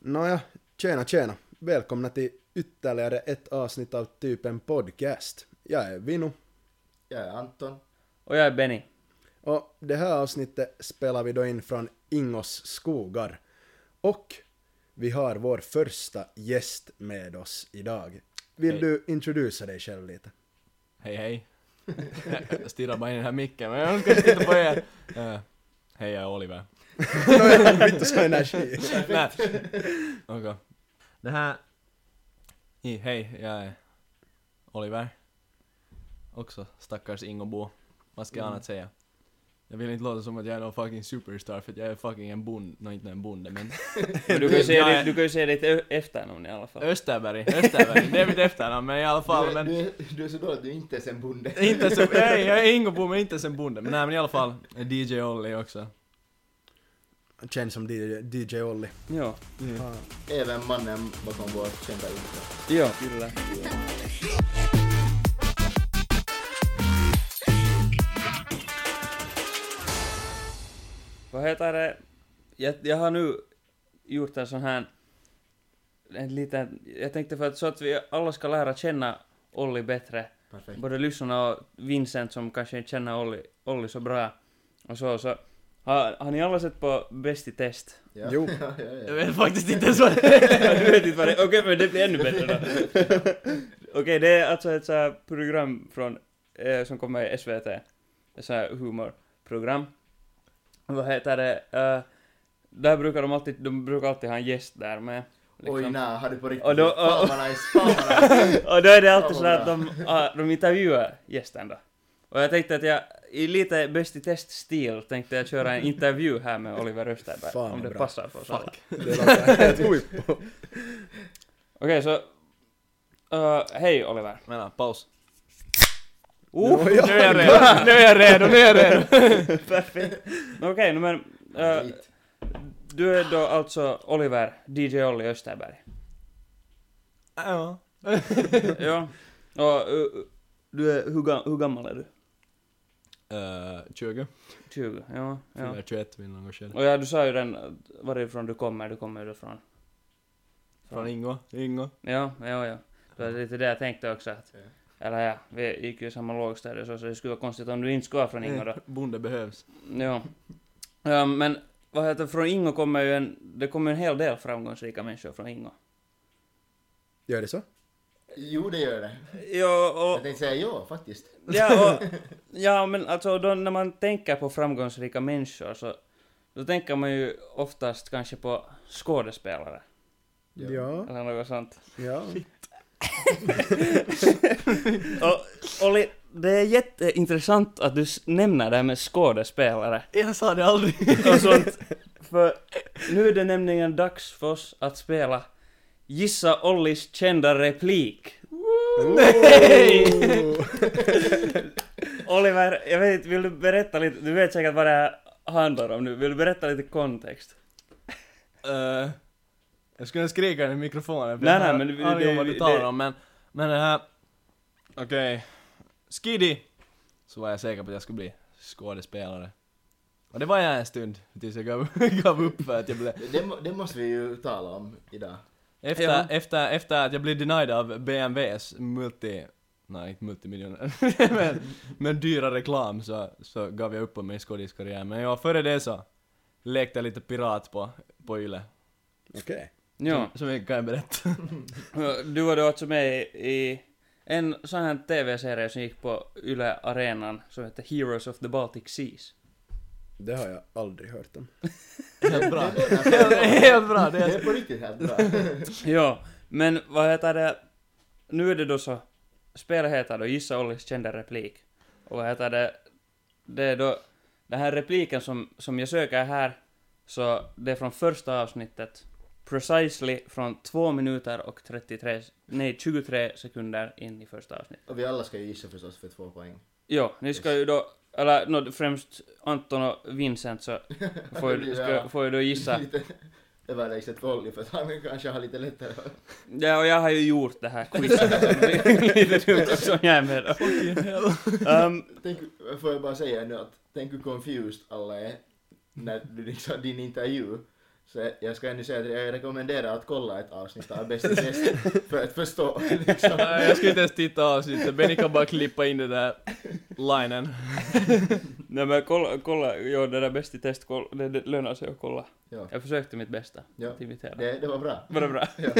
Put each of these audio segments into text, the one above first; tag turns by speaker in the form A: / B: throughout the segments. A: Nåja, tjena tjena. Välkomna till ytterligare ett avsnitt av typen podcast. Jag är Vinu
B: Jag är Anton.
C: Och jag är Oh Benny.
A: och det här avsnittet spelar vi då in från Ingos skogar. Och vi har vår första gäst med oss idag. Vill
D: Hej.
A: du introducera dig själv lite?
D: Hej hej! jag stirrar bara in i den här micken, men jag önskar titta på er! Eh, hej, jag är Oliver.
A: Nåja, inte så energi.
D: Nej! Okej. Det här... I- Hej, jag är Oliver. Också stackars Ingobo. Vad ska jag
C: Mm.
D: annat säga? Jag vill inte låta som att jag är någon fucking superstar för att jag är fucking en bonde, nå inte en bonde men
C: Men du kan ju säga
D: Nej.
C: ditt, du kan ju säga ditt ö- efternamn i alla fall.
D: Österberg, Österberg, det är mitt efternamn men i alla fall
B: du,
D: men
B: du, du är så dålig att du inte är en bonde.
D: inte som, jag är, jag är Ingobo men inte som bonde men nej men i alla fall DJ Olli också.
A: Känns som DJ Olli.
C: Ja,
A: Ah.
B: Även mannen bakom vår kända intro.
C: ja, kyllä. Vad heter det? Jag, jag har nu gjort en sån här... En liten, jag tänkte för att så att vi alla ska lära känna Olli bättre.
B: Perfekt.
C: Både lyssnarna och Vincent som kanske inte känner Olli, Olli så bra. Och så, så har, har ni alla sett på Bäst i test?
B: Ja.
A: Jo.
B: ja, ja,
D: Jag
B: ja.
D: vet faktiskt inte ens vad det är.
C: du vet inte vad det är. Okej, men det blir ännu bättre då. Okej, det är alltså ett så här program från, eh, som kommer i SVT. Ett så här humorprogram. Vad heter det? Eh, där brukar de alltid, de brukar alltid ha en gäst där med. liksom.
B: Oj nä, har du på riktigt?
C: Och då-
B: fan vad nice, fan vad nice.
C: Och då är det alltid
B: Ja,
C: så här att
B: vad
C: de, ah, de intervjuar gästen då. Och jag tänkte att jag i lite Bäst i test-stil tänkte jag köra en intervju här med Oliver Österberg.
A: Fan,
C: om det
A: bra.
C: passar för oss alla. Okej,
A: Det låter helt huippu.
C: så... eh, hej Oliver.
D: Vänta, paus.
C: Uh,
A: ja,
C: nu är jag redo, nu är jag redo, nu är jag redo! Perfekt. Okej, no, men eh,
B: Skit.
C: du är då alltså Oliver, DJ Olli Österberg.
D: Ja.
C: ja. Och eh, du är, hur, ga, hur gammal är du?
D: 20.
C: 20? Ja, ja.
D: Eh, Fyller 21 vid något skede.
C: Och ja, du sa ju den, eh, varifrån du kommer, du kommer ju från...
D: Från Ingo. Ingo.
C: Ja, ja, ja. Det var lite det jag tänkte också att...
B: Ja.
C: Eller ja, vi gick ju i samma lågstadie så, så det skulle vara konstigt om du inte skulle vara från Ingo då.
D: Eh, Bonde behövs.
C: Ja. Ja, men vad heter från Ingo kommer ju en, det kommer en hel del framgångsrika människor från Ingo.
A: Gör det så?
B: Jo, det gör det.
C: Ja,
B: Jag
C: och,
B: tänkte säga ja, faktiskt.
C: ja, och, ja men alltså då, när man tänker på framgångsrika människor så då tänker man ju oftast kanske på skådespelare
B: Ja.
A: Ja.
C: eller något sånt.
A: ja.
C: Och Olli, det är jätteintressant att du s- nämner det här med skådespelare
D: Jag sa det aldrig.
C: och sånt. För nu är det nämligen dags för oss att spela Gissa Ollis kända replik.
A: Nej!
C: Oliver, jag vet inte, vill du berätta lite, du vet säkert vad det här handlar om nu, vill du berätta lite kontext?
D: Eh, jag skulle skrika i mikrofonen. för
C: Nej,
D: jag
C: nej,
D: har
C: men det-
D: aning om
C: det-
D: vad du
C: det-
D: talar om, men... Men det här... Okej. Skiddy! Så var jag säker på att jag skulle bli skådespelare. Och det var jag en stund, tills jag gav, gav upp för att jag blev...
B: Det, det, må- det måste vi ju tala om idag.
D: Efter,
C: Ja.
D: efter, efter att jag blev denied av BMWs multi... Nej, inte multimiljoner. men, men dyra reklam så, så gav jag upp på min skådiskarriär. Men ja, före det så lekte jag lite pirat på, på Yle.
A: Okej.
C: Ja,
D: Så mycket kan jag berätta.
C: du var då alltså med i, i en sån här TV-serie som gick på Yle Arenan som hette Heroes of the Baltic Seas.
A: Det har jag aldrig hört om.
D: Helt bra.
B: Det, är-
D: helt, helt bra. Det
B: det
D: är...
B: är på riktigt helt bra.
C: Ja, men vad heter det, nu är det då så, spelet heter då Gissa Ollis kända replik. Och vad heter det, det är då, den här repliken som, som jag söker här, så det är från första avsnittet, precisely från 2 minuter och 33, nej 23 sekunder in i första avsnittet.
B: Och vi alla ska ju gissa förstås för två poäng.
C: Jo, ni ska ju då, eller no, främst Anton och Vincent så får ju, ska, får ju då gissa.
B: Lite överlägset för Olli, för att han kanske har lite lättare att-
C: Ja, och jag har ju gjort det här quizet, så det är lite dumt som jag är med då. Ehm,
B: Tänk, får jag bara säga nu att tänk hur confused alla är när du liksom, din intervju Så jag- jag ska ännu säga att jag rekommenderar att kolla ett avsnitt av Bäst i test för att förstå. Liksom.
D: Nej, jag skulle inte ens titta avsnittet, Benny kan bara klippa in den där linen.
C: Nej men kolla, kolla jo det där bäst i test, kolla, det, det lönar sig att kolla.
B: Ja.
C: Jag försökte mitt bästa.
B: Ja.
C: Imitera.
B: Det, det var bra.
C: Var det bra?
B: Ja.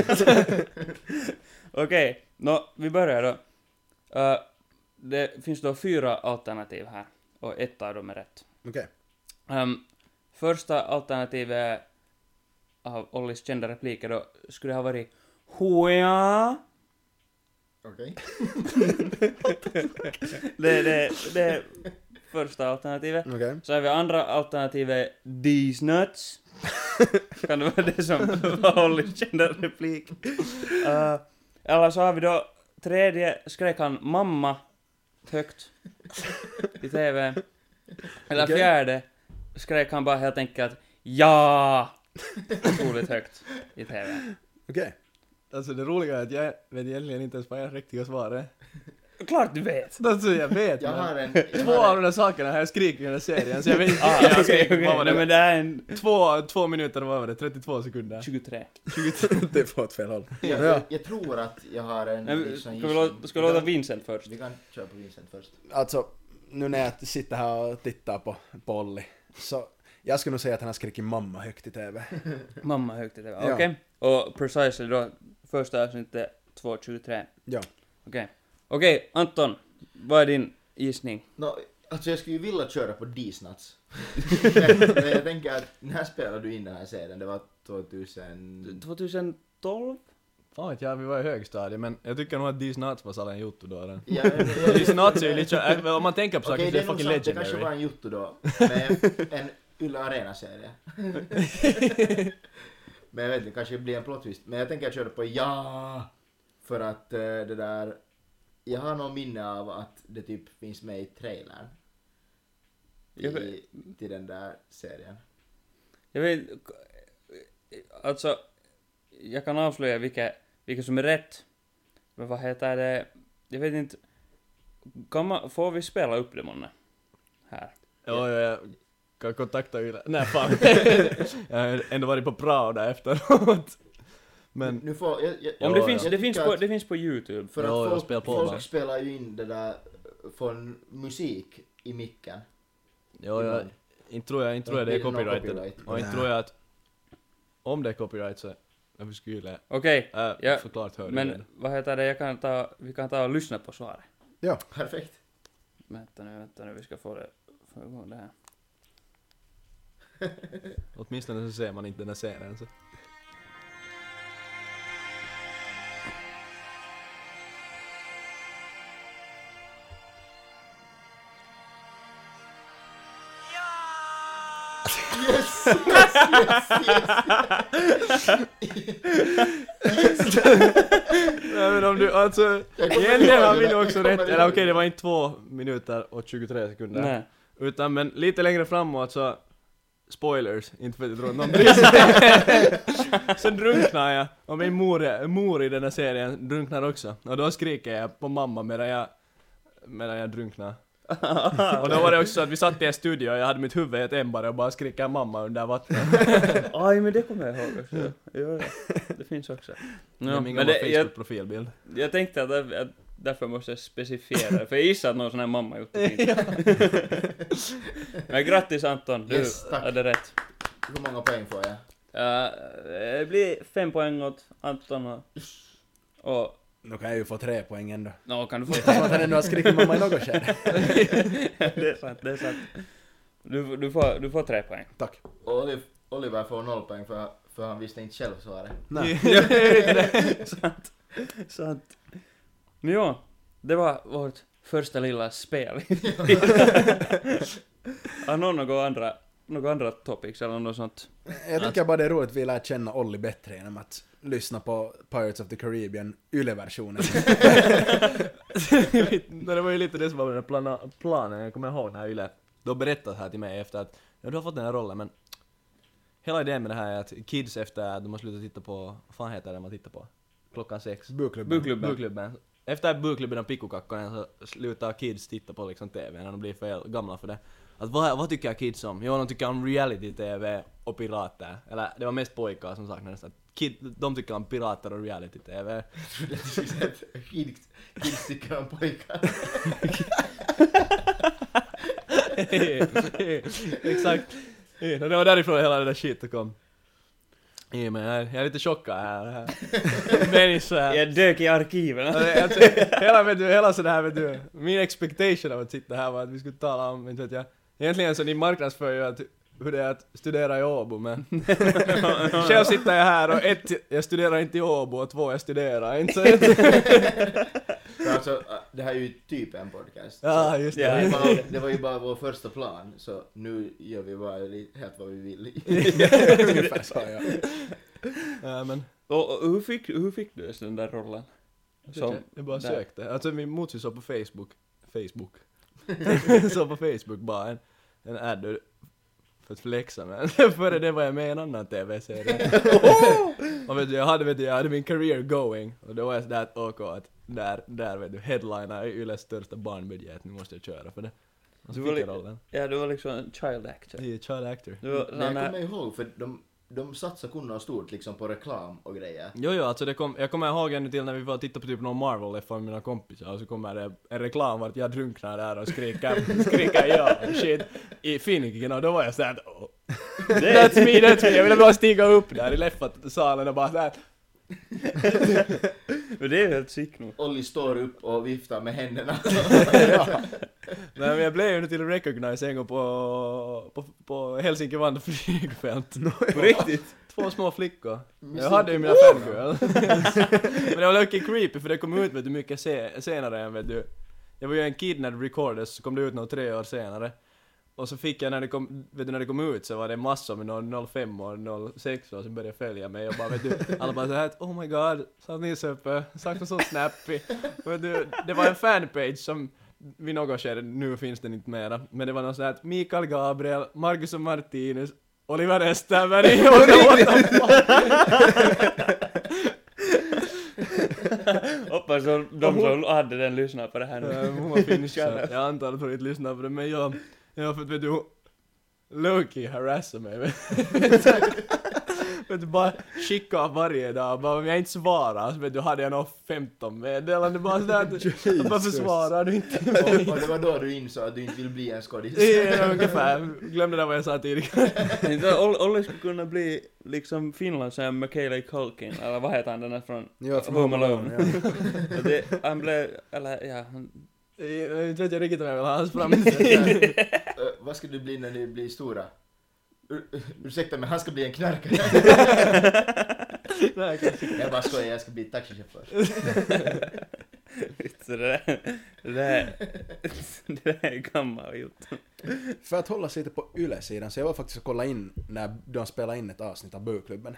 C: Okej, nå, vi börjar då. Eh, det finns då fyra alternativ här, och ett av dem är rätt.
A: Okej.
C: Ehm, första alternativet är- av Ollis kända repliker då skulle det ha varit Hoja!
B: Okej.
C: Det är det, det är första alternativet.
A: Okej.
C: Så har vi andra alternativet These nuts. kan det vara det som var Ollis kända replik? Eh, eller så har vi då tredje skrek han mamma högt i TV. Eller
A: Okej.
C: fjärde skrek han bara helt enkelt ja otroligt högt i TV.
A: Okej.
D: Alltså det roliga är att jag vet egentligen inte ens vad jag riktiga svar är.
C: Klart du vet!
D: Alltså jag vet
B: Jag
D: men-
B: har en... Jag
D: Två av
B: har
D: de
B: en
D: där sakerna har jag skrikit i den här serien så jag vet inte
C: Ah, okej,
D: vad jag har
C: okej.
D: skrikit. Vad var
C: Nej, men
D: det?
C: det här är en
D: Två, två minuter, vad var det? 32 sekunder?
C: 23.
A: det var åt fel håll.
B: jag,
A: Ja.
B: jag, jag tror att jag har en...
C: Nej, men
B: liksom
C: ska vi
B: gissning.
C: låta, ska vi låta Vincent först?
B: Vi kan köra på Vincent först.
A: Alltså, nu när jag sitter här och tittar på Polly, så jag skulle nog säga att han har skrikit mamma högt i TV.
C: Mamma högt i TV,
A: Ja.
C: okej. Och precisely då, första avsnittet 2.23.
A: Ja.
C: Okej. Okej, Anton. Vad är din gissning?
B: No, alltså jag skulle ju vilja köra på Disnuts. men, men jag tänker att när spelade du in den här serien? Det var 2000...
C: 2012?
D: Fan vet jag, vi var i högstadiet men jag tycker nog att These Nuts var sällan jotto då. den.
B: Ja, men-
D: These Nuts är ju lite, äh, om man tänker på saker
B: Okej,
D: så
B: det
D: är det
B: är nog
D: fucking
B: sant. Det kanske var
D: legendary.
B: en jotto då. Men en Yle Arena-serie. men jag vet inte, kanske det blir en plot twist. Men jag tänker att jag körde på ja. För att eh, det där... Jag har någon minne av att det typ finns med i trailern.
C: Jag vet-
B: I, till den där serien.
C: Jag vet Alltså, jag kan avslöja vilka, vilka som är rätt. Men vad heter det? Jag vet inte. Kan man, får vi spela upp det månne? Här.
D: Ja, ja, jag kan kontakta Yle. Nej fan. jag har ändå varit på prao där efteråt. Men
B: Nu får, jag, jag,
C: Om
D: Ja,
C: det,
D: ja.
C: finns,
B: jag
C: det, finns
B: tycker
C: på,
B: att-
C: det finns på YouTube.
B: För att
D: Ja, jag
B: folk,
D: spelar på bara.
B: folk spelar ju in det där från musik i micken.
D: Ja,
B: Mm.
D: ja, inte tror jag, inte tror jag det är
B: Inte någon
D: copyrighted.
B: copyright.
D: Och inte
A: Nej.
D: tror jag att om det är copyright så, varför skulle
C: Okej,
D: jag,
C: Ja,
D: äh, såklart hör jag
C: men
D: det.
C: vad heter det? Jag kan ta, vi kan ta och lyssna på svaret.
A: Ja.
B: Perfekt.
C: Vänta nu, vänta nu, vi ska få det, få igång det här.
D: Åtminstone så ser man inte den här serien så.
B: Yes! Yes! Yes! yes.
D: Nej men om du, alltså,
B: Jag kommer
D: egentligen
B: ihåg
D: har
B: det
D: vi
B: där.
D: nog också
B: Jag
D: rätt,
B: kommer
D: eller
B: ihåg
D: okej
B: det.
D: det var inte två minuter och 23 sekunder.
C: Nej.
D: Utan men lite längre framåt så, spoilers, inte för att jag tror att någon bryr sig. Sen drunknar jag, och min mor, mor i den här serien drunknar också. Och då skriker jag på mamma medan jag, medan jag drunknar.
C: Ah.
D: och då var det också så att vi satt i en studio och jag hade mitt huvud i ett ämbare och bara skriker mamma under vattnet.
C: Aj, men det kommer jag ihåg också. Ja, ja. Det finns också.
D: det är
C: Ja,
D: min
C: men
D: gamla
C: det, jag,
D: Facebook-profilbild.
C: jag tänkte att, där- att därför måste jag specificera det, för jag gissar att någon sån här mamma gjort det fint. Men grattis Anton, du
B: Yes, tack.
C: hade rätt.
B: Hur många poäng får jag?
C: Eh, det blir fem poäng åt Anton och... och
A: Nu kan jag ju få tre poäng ändå.
C: Nå, kan du få
A: Eftersom att han ändå har skrikit mamma i något skede.
C: det är sant, det är sant. Du, du, får, du får tre poäng.
A: Tack.
B: Och Oliv- Oliver får noll poäng för, för han visste inte själv svaret.
A: Nej.
C: sant. Sant. Men ja, det var vårt första lilla spel. Har någon några andra, några andra topics eller något sånt?
A: Jag tycker bara det är roligt att vi lär känna Olli bättre genom att lyssna på Pirates of the Caribbean YLE-versionen.
D: Nej, det var ju lite det som var den där plana, planen, jag kommer ihåg när Yle, du har berättat här till mig efter att, ja du har fått den här rollen men Hela idén med det här är att kids efter att de har slutat titta på, vad fan heter det man tittar på? Klockan sex?
A: Bokklubben.
C: Bokklubben.
D: Bokklubben. efter Buklubben och Pikkukakkonen så slutar kids titta på liksom TV när de blir för gamla för det. Att vad, vad tycker kids om? Jo, de tycker om reality-TV och pirater. Eller det var mest pojkar som saknades. Att kid, de tycker om pirater och reality-TV.
B: trodde att du skulle säga att kids, kids tycker om pojkar.
D: Exakt. Ja, Det var därifrån hela den där skiten kom. Ja, men jag är- jag är lite chockad här. Det här. Människa här.
C: Jag dök i arkiven.
D: Ja, det- alltså, hela, vet du, hela sådär vet du, min expectation av att sitta här var att vi skulle tala om, inte vet jag. Egentligen så ni marknadsför ju att, hur det är att studera i Åbo men själv sitter jag här och ett, jag studerar inte i Åbo och två, jag studerar inte. Så ett,
B: Men alltså, äh, det här är ju typ en podcast.
D: Ah, ja,
B: Så
D: just
B: det, var ju
D: det.
B: bara, det var ju bara vår första plan, så nu gör vi bara li- helt vad vi vill.
A: Ungefär så, ja.
D: Ja, men,
C: Och, och hur, fick, hur fick du ens den där rollen?
D: så,
C: Som,
D: jag bara
C: där.
D: sökte. Alltså min morsa såg på Facebook, Facebook, såg på Facebook bara en, en ad för att flexa men före det var jag med i en annan TV-serie. Och vet du, jag hade, vet du, jag hade min career going och då var jag sådär att okej att där, där vet du, headliner är Yles största barnbudget, nu måste jag köra för det. Och så
C: Du var
D: fick
C: li-
D: jag rollen.
C: ja, du var liksom en child actor.
D: Jag är child actor.
C: Du var
B: Men
C: sån
B: jag
C: här,
B: kommer ihåg, för de, de satsar kunna stort liksom på reklam och grejer.
D: Jo, jo, alltså det kom, jag kommer ihåg ännu till när vi var och tittade på typ någon marvel f med mina kompisar och så kommer det en reklam vart jag drunknar där och skriker, skriker ja och shit i Finniken och då var jag såhär att oh, that's me, that's me, jag ville bara stiga upp där i Leffat-salen och bara såhär
C: men det är ju helt sick nog.
B: Olli står upp och viftar med händerna.
D: Nej men jag blev ju nu till recognize en gång på, på, på Helsinki Vann flygfält.
C: På riktigt?
D: Två små flickor.
B: Mysigt.
D: Jag hade ju mina fangirls. men det var lucky creepy för det kom ut vet du mycket se, senare än vet du. Jag var ju en kidnad recorder så kom det ut något tre år senare. Och så fick jag när det kom, vet du när det kom ut så var det massor med någon 05 och 06 och som började följa mig och bara vet du, alla bara såhär att oh my god, satt ni söpe, saknar så snappy. Vet du, det var en fanpage som vid något skede, nu finns den inte mera, men det var någon sån här att Mikael Gabriel, Marcus och Martinus, Oliver Österberg och
C: Hoppas de de som hade den lyssnar på det här nu.
D: Hon var finsk, så jag antar att hon inte lyssnar på det, men jag, jag för att vet du, hon- Loki harassar mig. vet du. Vet du, bara skicka varje dag, bara om jag inte svarar så vet du, hade jag nog 15 meddelanden bara sådär. att- Varför
A: Jesus.
D: svarar du inte?
B: och, och det var då du insåg att du inte vill bli en skådis.
D: Ja, Ungefär, glömde det vad jag sa tidigare.
C: Inte Olle- Olle skulle kunna bli liksom Finlands sån här Macaulay Culkin, eller vad heter han den där från
A: Ja, från
C: Home
A: Home Alone,
C: Alone? Och det, han blev, eller ja, han-
D: Jag vet inte riktigt om jag vill ha hans fram.
B: Ö, Eh, vad ska du bli när du blir stora? Ur, ursäkta men han ska bli en knarkare.
D: Nej, kanske.
B: jag bara skojar, jag ska bli taxichaufför.
C: så det där, det där, det där är gammalvilt.
A: För att hålla sig lite på yle-sidan så jag var faktiskt och kollade in när de spelade in ett avsnitt av Böklubben.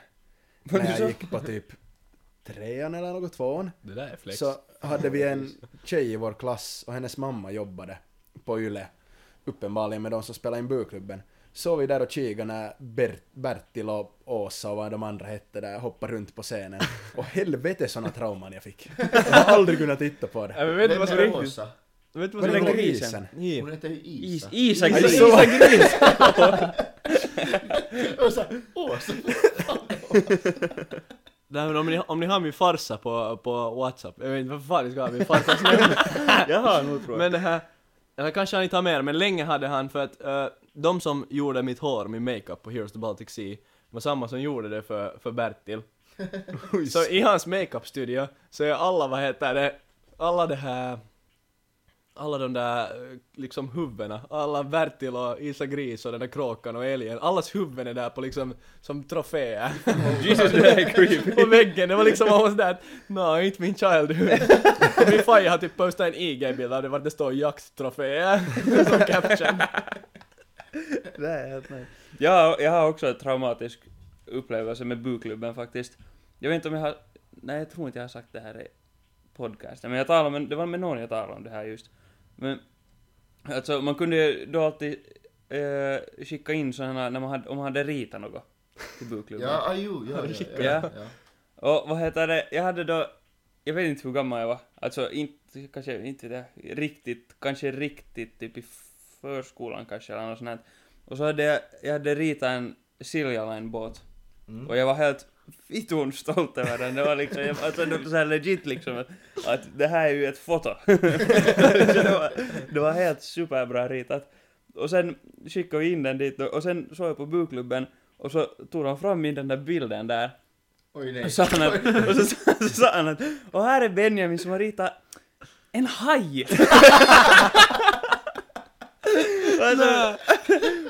C: Var det
A: När
C: så?
A: jag gick på typ trean eller något, tvåan.
D: Det där är flex.
A: Så hade vi en tjej i vår klass och hennes mamma jobbade på Yle, uppenbarligen med de som spelade in Böklubben. Så vi där och kikade när Bert, Bertil och Åsa och vad de andra hette där hoppade runt på scenen. Och helvete såna trauman jag fick. Jag har aldrig kunnat titta på det.
D: Ja, men vet du
B: Vem
D: vad som
B: är Åsa?
D: Vet du
A: Var
D: vad som
A: det
C: Lägg
A: någon
C: grisen.
A: grisen?
D: Ja.
B: Hon heter ju Isa.
C: Is, Isak,
A: Aj,
C: Isak,
A: så-
C: Gris!
B: Åsa, Åsa!
D: Nej men om ni, om ni har min farsa på, på Whatsapp, jag vet inte varför fan ni ska ha min farsas nummer.
C: Jag har nog tror jag.
D: men det här, eller kanske han inte har mer, men länge hade han för att eh, de som gjorde mitt hår, min makeup på Heroes of the Baltic Sea, var samma som gjorde det för, för Bertil. så i hans makeupstudio så är alla, vad heter det, alla det här, alla de där eh, liksom huvudena, alla Bertil och Isa Gris och den där kråkan och älgen, allas huvuden är där på liksom, som troféer.
C: Jesus, det där är creepy.
D: på väggen, det var liksom man var sådär att nej, inte min childhood. Och min faj har typ postat en IG-bild av det var det står jakttroféer som caption.
C: Det är helt nice. jag, har- jag har också en traumatisk upplevelse med Buklubben faktiskt. Jag vet inte om jag har... Nej, jag tror inte jag har sagt det här i podcasten, men jag talade med, det var med någon jag talade om det här just. Men, alltså man kunde ju då alltid eh, skicka in sådana, när man hade, om man hade ritat något till Bukklubben.
B: Ja, ah, jo, ja, ja, ja,
C: Ja.
B: ja.
C: Och vad heter det, jag hade då jag vet inte hur gammal jag var. Alltså inte, kanske inte det, riktigt, kanske riktigt typ i förskolan kanske eller något sånt här. Och så hade jag, jag hade ritat en Siljaline-båt.
B: Mm.
C: Och jag var helt fiton stolt över den. Det var liksom, jag, alltså det var så här legit liksom att det här är ju ett foto. så det, var, det var helt superbra ritat. Och sen skickade vi in den dit och- och sen såg jag på bukklubben och så tog de fram min den där bilden där
B: Oj nej.
C: och sa han att, och så, sa- så sa han att, och här är Benjamin som har ritat en haj. och, så,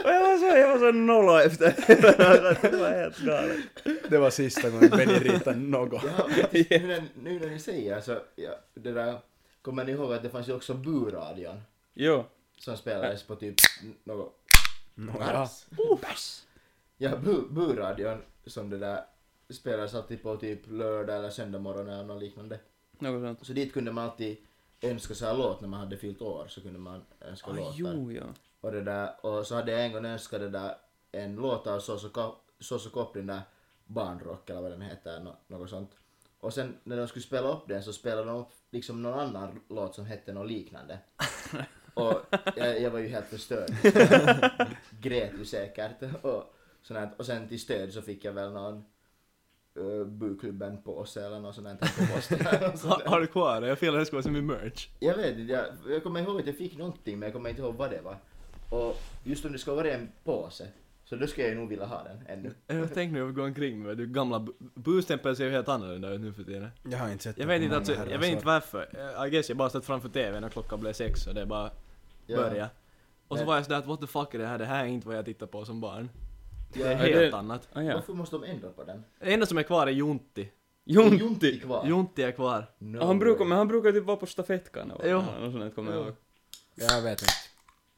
C: och jag var så, jag var så nollo efter det. Det var helt galet.
A: Det var sista gången Benny ritade något.
B: Ja, faktiskt, nu, när, nu när ni säger så, ja, det där, kommer ni ihåg att det fanns ju också buradion
C: Jo.
B: som spelades på typ något
A: Nåja.
B: Ja, bu- buradion som det där spelades alltid på typ lördag eller söndag morgon eller något liknande.
C: Något sånt.
B: Så dit kunde man alltid önska sig en låt när man hade fyllt år så kunde man önska
C: Ah,
B: låtar.
C: jo, ja.
B: Och, det där, och så hade jag en gång önskat det där en låt av Soso Ka- Soso Cop, den där barnrock eller vad den heter, nå- något sånt. Och sen när de skulle spela upp den så spelade de upp liksom någon annan låt som hette något liknande. och jag, jag var ju helt förstörd. Grät ju säkert. Och, sånt här. och sen till stöd så fick jag väl någon uh, Buklubben-påse eller något sånt där på posten. Och sånt
D: Ha,
B: där.
D: har du kvar det? Jag fel det ska vara som i merch.
B: Jag vet inte, jag, jag kommer ihåg att jag fick någonting men jag kommer inte ihåg vad det var. Och just om det ska vara en påse, så då skulle jag ju nog vilja ha den ännu.
D: Jag tänk nu, jag går omkring med du gamla... bu- Bustämpeln ser ju helt annorlunda ut nu för tiden.
A: Jag har inte sett
D: Jag
A: det
D: vet
A: på
D: inte,
A: många
D: alltså, jag
A: herrans
D: vet
A: år.
D: inte varför. Eh, I guess jag bara satt framför TVn och klockan blev sex och det bara
B: Ja.
D: började. Och så
B: Men-
D: var jag sådär att what the fuck är det här? Det här är inte vad jag tittar på som barn. Det är
B: Ja,
C: Hej.
D: helt
C: det-
D: annat.
C: Ah, ja.
B: Varför måste de ändra på den?
D: Det enda som är kvar är Juntti.
B: Är
C: Jon.
B: Juntti kvar?
D: Juntti är kvar.
B: No
C: Han brukar,
B: way.
C: men han brukar typ vara på stafettkan. eller
D: Jo.
C: något sånt där, kommer jag
D: Jo.
C: ihåg.
A: Jag vet inte.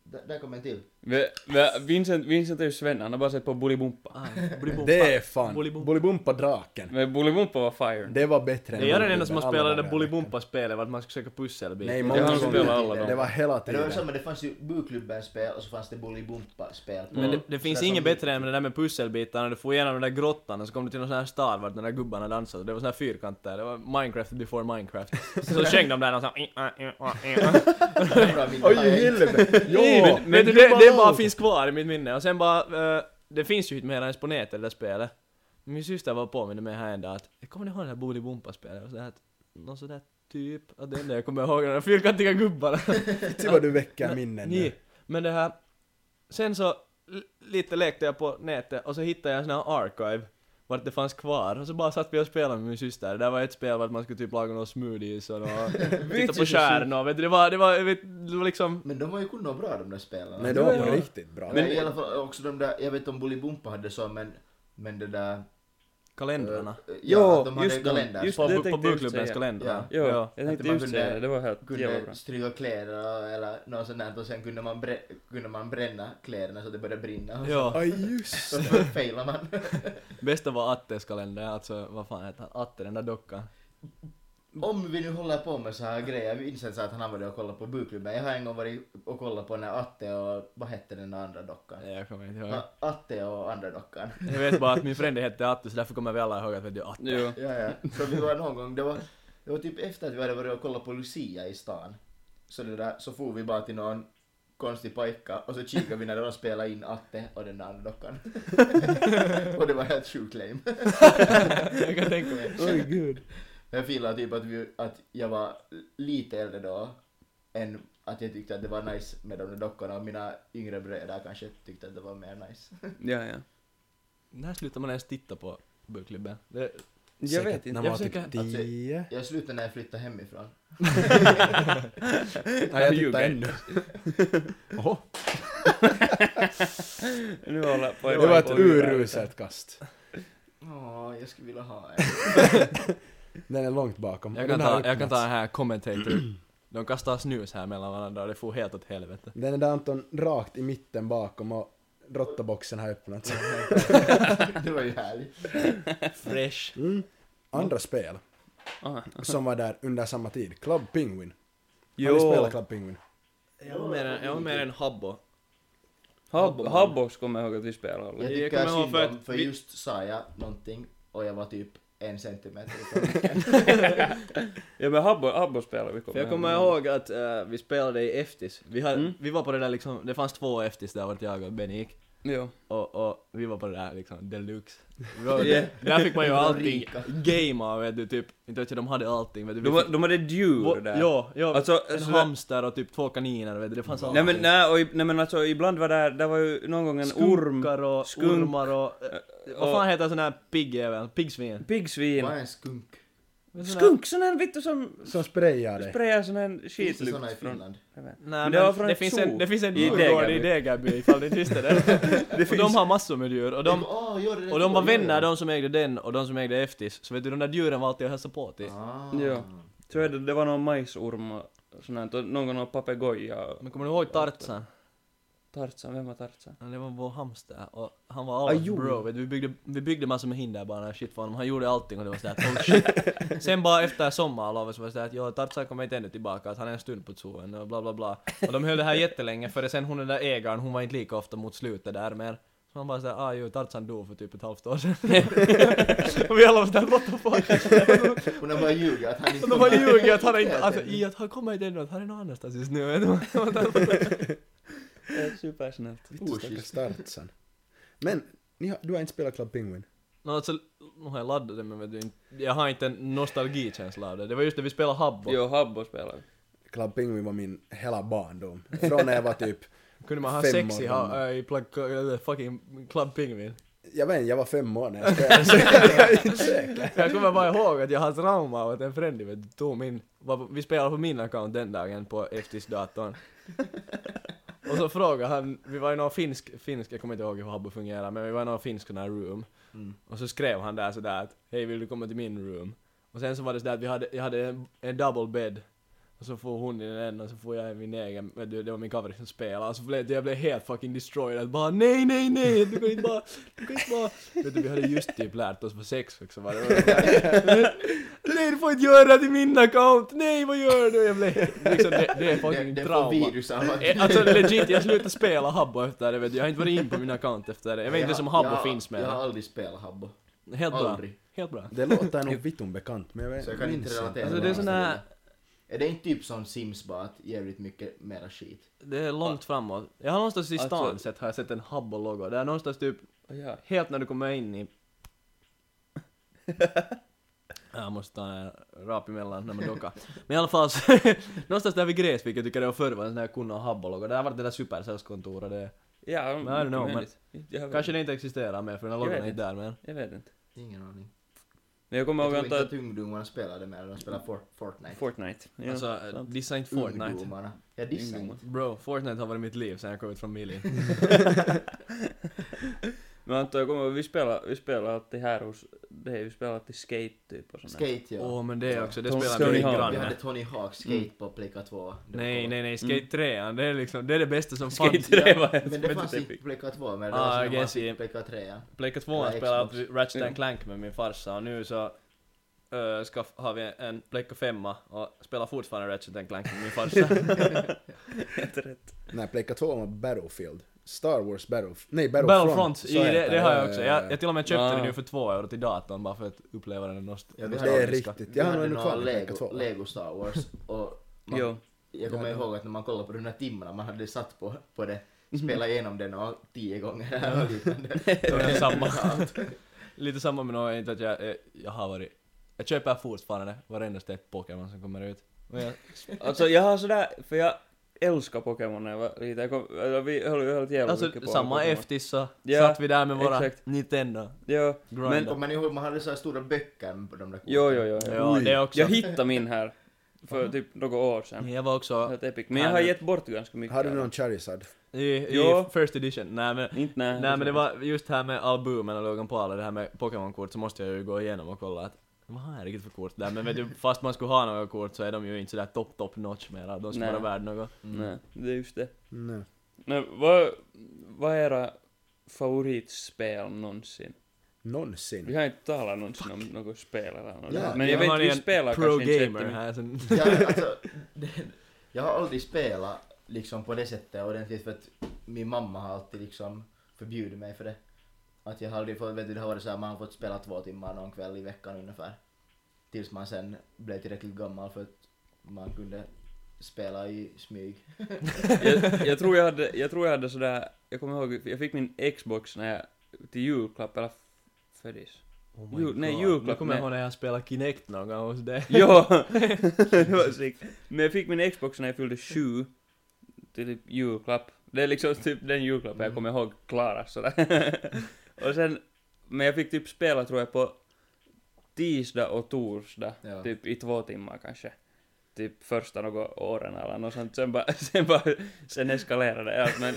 B: D- där kom en till.
C: Vi- vi- Vincent, Vincent är ju svenne, han har bara sett på Bolibompa.
D: Aj, Bolibompa.
A: Det är fan.
D: Bolibompa.
A: Bolibompa-draken.
C: Men Bolibompa var fire.
A: Det var bättre än...
D: Det är den
A: Bullybumpa,
D: enda som har
A: alla
D: spelat det
A: dagar i
D: där
A: veckan.
D: Bolibompa-spelet vart man ska söka pusselbitar.
A: Nej,
B: Det
A: många
B: har han
A: gånger.
B: spelat alla dagar.
A: Det var hela
B: Men det var
A: tiden.
B: samma, det fanns ju Buklubben-spel och så fanns det Bolibompa-spel. på-
D: Mm. Men det,
A: Mm.
D: det
B: Så
D: finns
B: där
D: inget
B: som-
D: bättre än det där med pusselbitarna, du får igenom den där grottan och så kom du till någon sån här stad vart de där gubbarna dansade och det var sån här fyrkanter, det var Minecraft before Minecraft. Så sjöng de där och så
B: Det är bra minne.
A: Oj,
B: Jag är inte-
A: helvete! Jo!
D: Men, men
A: det
D: det, det,
A: var
D: det
A: långt.
D: bara finns kvar i mitt minne och sen bara, eh, det finns ju inte mer ens på nätet det där spelet. Min syster var påminner mig här en dag att, kommer ni ihåg det här Bolibompa-spelet? Och så här, att, Någon sån där typ, att det enda jag kommer ihåg är de där fyrkantiga gubbarna.
A: Se vad du väcker
D: Men-
A: minnen
D: nej,
A: nu.
D: Men det här, sen så l- lite lekte jag på nätet och så hittade jag en sån här archive vart det fanns kvar och så bara satt vi och spelade med min syster. Det där var ett spel vart man skulle typ laga några smoothies och några- titta på stjärnor. Vet du, det var, det var, vet, det var liksom...
B: Men de var ju kunnat bra de där spelarna.
A: Nej, det var
D: Ja, ja.
A: riktigt bra.
B: men i alla fall också de där, jag vet inte om Bolibompa hade så men, men det där...
D: Kalendrarna.
B: eh, ja,
C: Ja,
B: att de hade
C: just de,
B: kalender.
C: just
D: På,
C: det
D: på, på
C: tänkte jag
D: bokklubbens
C: säga.
D: kalendrar.
C: Jo,
D: Ja.
C: jag
B: Att
C: tänkte
B: man
C: just
B: kunde-
C: säga det, det var helt jävla bra.
B: kunde stryka kläder och- eller något sånt där och sen kunde man, brä- kunde man bränna kläderna så att det började brinna. Och
D: Ja.
A: Aj, just
B: så failade man.
D: Bästa var Attes kalender, alltså vad fan heter han? Atte, den där dockan.
B: Om vi nu håller på med så här grejer, jag minns att han har varit och kollat på bukklubben. Jag har en gång varit och kollat på när Atte och, vad hette den där andra dockan?
D: Nej, Jag kommer inte ihåg.
B: Ja. Atte och andra dockan.
D: Jag vet bara att min frände hette Atte så därför kommer vi alla ihåg att vet du Atte.
C: Jo.
B: Ja, ja. Så vi var någon gång, det var, det var typ efter att vi hade varit och kollat på Lucia i stan. Så, det där, så for vi bara till någon konstig pojka och så kikade vi när de spelade in Atte och den där andra dockan. och det var helt sjukt lame.
D: Jag kan tänka mig.
A: Oj, gud.
B: Jag filar typ att, vi, att jag var lite äldre då än att jag tyckte att det var nice med de där dockorna och mina yngre bröder kanske tyckte att det var mer nice.
C: Ja, ja.
D: När slutar man ens titta på bokklubben? Det,
C: Jag vet
A: När
C: inte.
A: man
D: Jag
A: var typ
D: försöker-
B: alltså,
A: tio.
B: Jag slutade när jag flyttade hemifrån.
A: Nej, jag
C: ljuger.
A: tittar ännu. Oho,
C: Nu håller på
A: det var ett
C: på- på-
A: uruselt kast.
B: Åh, jag skulle vilja ha en.
A: Den är långt bakom.
D: jag,
A: Den
D: kan
A: har
D: ta, jag kan ta
A: öppnats.
D: den här commentator. De kastar snus här mellan varandra och det får helt åt helvete.
A: Den är där Anton rakt i mitten bakom och råttaboxen har öppnats.
B: det var ju härligt.
D: Fresh.
A: Mm. Andra spel
C: Aha.
A: som var där under samma tid. Club Penguin. Har ni
C: Jo.
A: spelat Club Penguin?
D: Jag var mer en, jag var mer en habbo.
C: Hab- Habbox kommer jag ihåg att vi spelade.
B: Jag
C: Olle.
D: Jag
B: tycker
D: kommer ihåg
B: synd
D: för
B: om,
D: att
B: för
D: vi-
B: just sa jag någonting och jag var typ en centimeter.
C: Ja men Habbo, Habbo spelar vi
D: För jag kommer ihåg att eh, vi spelade i Eftis. Vi, hade,
C: Mm.
D: vi var på det där liksom, det fanns två Eftis där vart jag och Benny gick.
C: Jo.
D: Och, och vi var på det där liksom deluxe. Vi var,
C: Yeah.
D: Där fick man ju
B: Vi var
D: allting
B: rika.
D: game vet du typ. Inte vet jag, de hade allting vet du. Vi
C: De, var-
D: fick-
C: de hade ett djur
D: Vå-
C: där.
D: Ja, ja,
C: Alltså,
D: en
C: så-
D: hamster och typ två kaniner vet du, det fanns
C: Nej
D: allting.
C: men, nej, och, i- nej men alltså ibland var där, där var ju någon gång en orm,
D: Skunkar och
C: skunk,
D: ormar och... eh, vad fan heter sån här piggjävel? Piggsvin?
C: piggsvin.
B: Vad är en skunk?
C: Skunk, sån här vittu som
A: Som sprayar dig.
C: sprayar sån här
B: Finns det
C: skitlukt
B: såna i
C: från...
B: Finland?
C: Jag vet.
D: Nej,
C: Men
D: men
C: det
D: det,
C: var från ett
D: finns
C: zoo.
D: en, det finns en
C: I
D: djurgård
C: Degärby.
D: i Degerby ifall ni inte visste det. och de har massor med djur och de,
B: Ah, ja, det är
D: och de
B: det.
D: var vänner de som ägde den och de som ägde Eftis. Så vet du de där djuren var alltid och hälsade på till.
B: Ah.
C: Ja. Så är det, det var någon majsorm och sån här, och någon gång någon papegoja och
D: Men kommer du ihåg Tarzan?
C: Tarzan, vem var Tarzan?
D: Ja, det var vår hamster och han var allas
A: jo.
D: bro. Vet du, Vi byggde, vi byggde massor med hinderbana och shit för honom. Han gjorde allting och det var sådär oh shit. Sen bara efter sommarlovet så var det sådär att ja, Tarzan kommer inte ännu tillbaka, att han är en stund på zoen och bla bla bla. Och de höll det här jättelänge för sen hon den där ägaren, hon var inte lika ofta mot slutet där mer. Så han bara sådär, ah jo, Tarzan dog för typ ett halvt år sedan. och vi alla var sådär, what the fuck?
B: Hon har bara ljugit att han inte
D: Och de bara
B: kommer-
D: ljuger att han är inte, alltså i att han kommer inte ännu, att han är någon annanstans just nu.
C: Eh, Supersnällt.
A: Vittu stackars Startsen. Men, ni har, du har inte spelat Club Penguin?
D: No, alltså, nu har jag laddat det men vet du, inte- jag har inte en nostalgikänsla av det. Det var just det vi spelade Habbo.
C: Jo, Habbo spelade.
A: Club Penguin var min hela barndom. Från när jag var typ,
D: Kunde man ha
A: Fem
D: sex i,
A: år
D: ha,
A: gammal.
D: äh, i plak, äh, fucking Club Pingvin?
A: jag vet inte, jag var fem år när jag spelade. så jag är inte säker.
D: jag kommer bara ihåg att jag har trauma av att en frände vet du, tog min, var, vi spelade på min account den dagen på Eftis datorn. Och så frågade han, vi var i någon finsk, finsk, jag kommer inte ihåg hur Habbo fungerar, men vi var i någon finsk sån här room.
B: Mm.
D: Och så skrev han där sådär att hej vill du komma till min room? Och sen så var det sådär att vi hade, jag hade en, en double bed. Och så får hon i den och så får jag i min egen, men det det var min cover som spelade. Och så blev jag blev helt fucking destroyed. Att bara nej, nej, nej, du kan inte bara, du kan inte bara. Vet du, vi hade just typ lärt oss vad sex också var. Det var sådär, nej, du får inte göra det i min account! Nej, vad gör du? Jag blev liksom, det, det är
B: Det,
D: fucking
B: det får
D: trauma.
B: virus av att...
D: Eh, Alltså legit, jag slutade spela Habbo efter det vet du. Jag har inte varit in på min account efter det. Jag vet inte ens om Habbo
B: jag-
D: finns med.
B: Jag har aldrig spelat habbo.
D: Helt bra.
B: Aldrig.
D: Helt bra.
A: Det låter nog vittum bekant, men jag vet
B: Så jag kan inte
A: minns
B: relatera.
D: Alltså det är sån här,
B: Är det inte typ som Sims bara att jävligt mycket mera skit?
D: det är långt framåt. Jag har någonstans i stan
C: Alltså-
D: sett, har jag sett en Habbo-logo. Det är någonstans typ,
C: Oh, ja.
D: helt när du kommer in i... Jag måste ta en rap emellan när man dockar. Men i alla fall, så, någonstans där vid Gräsvik, jag tycker det var förr, var en sån här kunna Habbo-logo. Där var det där supersäljskontoret. Det,
C: Ja,
D: Men I don't know,
C: mycket
D: men-
C: möjligt. Jag vet-
D: kanske det inte existerar mer för den här
C: Jag
D: logon
C: vet
D: är inte där mer.
C: Jag vet inte.
B: Ingen aning.
C: Men jag kommer
B: Jag
C: ihåg
B: tror inte att
C: att
B: ungdomarna spelar det mer, de spelar for, Fortnite.
C: Fortnite. Ja,
D: alltså,
C: sant.
D: dissa inte Fortnite.
B: Ungdomarna. Jag dissar
C: Ungdomar.
B: inte.
D: Bro, Fortnite har varit mitt liv sen jag kom ut från Mili.
C: Men Anton, jag kommer ihåg, vi spelade, vi spelade alltid här hos dig, vi spelade alltid skate typ och sånt där.
B: Skate ja.
D: Åh, men det är också, det
C: Tom
D: spelar
C: Stony
D: min
C: Hawk.
B: Vi
D: granne.
B: hade Tony Hawk skate på Pleka 2. Det var
D: Nej,
B: coolt.
D: nej, nej, Skate 3, det är liksom, det är det bästa som
C: Skate
D: fanns.
C: 3 var
B: Men det fanns
C: typ?
B: inte på Pleka 2 men det
D: Ah,
B: var
D: I
B: som det
D: guess
B: fanns i
D: it-
B: Pleka 3.
D: Blake 2 han
B: Ja,
D: spelade
B: Xbox.
D: alltid Ratchet
C: Mm.
D: and Clank med min farsa och nu så eh, ska, har vi en Blake 5 och spelar fortfarande Ratchet and Clank med min farsa.
C: helt rätt.
A: Nej, Pleika 2 var Battlefield. Star Wars Battlef- nej, Battlefront.
D: Battlefront,
A: så
D: i, det,
A: heter
D: det har
A: Ja,
D: jag
A: ja,
D: också.
A: ja, ja.
D: Jag, jag till och med köpte
C: Ah.
D: det nu för två euro till datorn bara för att uppleva den nost-
B: Ja, vi hade-
A: Det är
D: nostalgiska.
A: riktigt.
B: Vi
A: Jag har
B: hade
A: nog ännu kvar
B: några
A: min Pleika 2.
B: Lego, Lego Star Wars och man,
C: Jo.
B: jag kommer
A: Ja, ja.
B: ihåg att när man kollade på de här timmarna man hade satt på, på det, spela igenom den och tio gånger eller liknande.
D: Det var samma.
B: Allt.
D: Lite samma med något, inte att jag, jag, jag har varit... Jag köper fortfarande varenda steg Pokémon som kommer ut. Och jag,
C: Alltså jag har sådär, för jag älskar Pokémon när jag var liten. Jag kom, alltså, vi höll ju helt jävla mycket
D: alltså
C: på
D: samma
C: Pokémon.
D: Eftis så
C: Ja,
D: satt vi där med våra
C: exakt.
D: Nintendo.
C: Jo,
D: Grinda.
C: Men-
B: Kommer ni ihåg man hade så här stora böcker på de där korten?
C: jo, jo, jo. jo.
D: Ja, det är också.
C: Jag hittade min här för typ några år sedan.
D: Jag var också
C: Helt epic. Men jag har gett bort ganska mycket.
A: Har du
C: av det.
A: någon Charizard?
D: i, i
C: Jo.
D: first edition. Nej men,
C: Inte när.
D: nej, men det var just här med albumen och Logan Paul och det här med Pokémon-kort så måste jag ju gå igenom och kolla att vad har jag riktigt för kort där? Men vet du, fast man skulle ha några kort så är de ju inte sådär top top notch mera. De skulle
C: Nej.
D: vara värda något.
C: Nej, Mm. det är just det.
A: Nej.
C: Men vad, vad är era favoritspel någonsin? Vi
A: Någonsin.
C: har inte talat någonsin om något spel eller något.
A: Ja,
C: men jag vet
D: har
C: inte, vi
D: en
C: spelar
D: pro
C: kanske inte
D: gamer
C: jättemycket.
D: här som...
B: Jag, alltså, det, jag har aldrig spelat liksom på det sättet ordentligt för att min mamma har alltid liksom förbjudit mig för det. Att jag har aldrig fått, vet du, det har varit så här, man har fått spela två timmar någon kväll i veckan ungefär. Tills man sen blev tillräckligt gammal för att man kunde spela i smyg.
C: jag, jag tror jag hade, jag tror jag hade sådär, jag kommer ihåg, jag fick min Xbox när jag, till julklapp eller födis.
D: Oh
C: Ju- nej,
D: Nu
C: julklapp,
D: kommer jag
C: nej.
D: ihåg när jag spelade Kinect någon gång hos dig.
C: ja! det var sick. Men jag fick min Xbox när jag fyllde sju, till typ julklapp. Det är liksom typ den julklappen jag kommer ihåg klara sådär. och sen, men jag fick typ spela tror jag på tisdag och torsdag,
B: Ja.
C: typ i två timmar kanske. Typ första några åren eller något sånt, sen bara, sen bara, sen eskalerade allt men,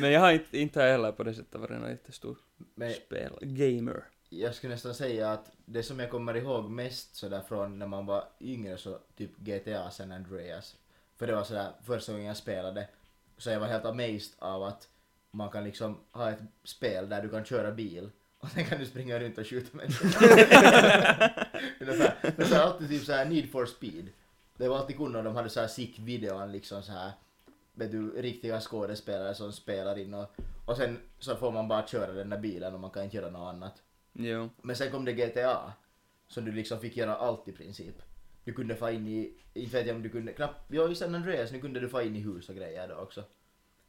C: men jag har inte, inte heller på det sättet varit någon jättestor
B: Men
C: spel, gamer.
B: jag skulle nästan säga att det som jag kommer ihåg mest sådär från när man var yngre så typ GTA San Andreas. För det var sådär första gången jag spelade så jag var helt amazed av att man kan liksom ha ett spel där du kan köra bil och sen kan du springa runt och skjuta människor. Ungefär. det var alltid typ såhär Need for speed. Det var alltid kunna de hade såhär sick videon liksom såhär vet du, riktiga skådespelare som spelar in och, och sen så får man bara köra den där bilen och man kan inte göra något annat.
C: Jo.
B: Men sen kom det GTA. Som du liksom fick göra allt i princip. Du kunde få in i, inte vet jag om du kunde, knappt, ja i San Andreas nu kunde du få in i hus och grejer då också.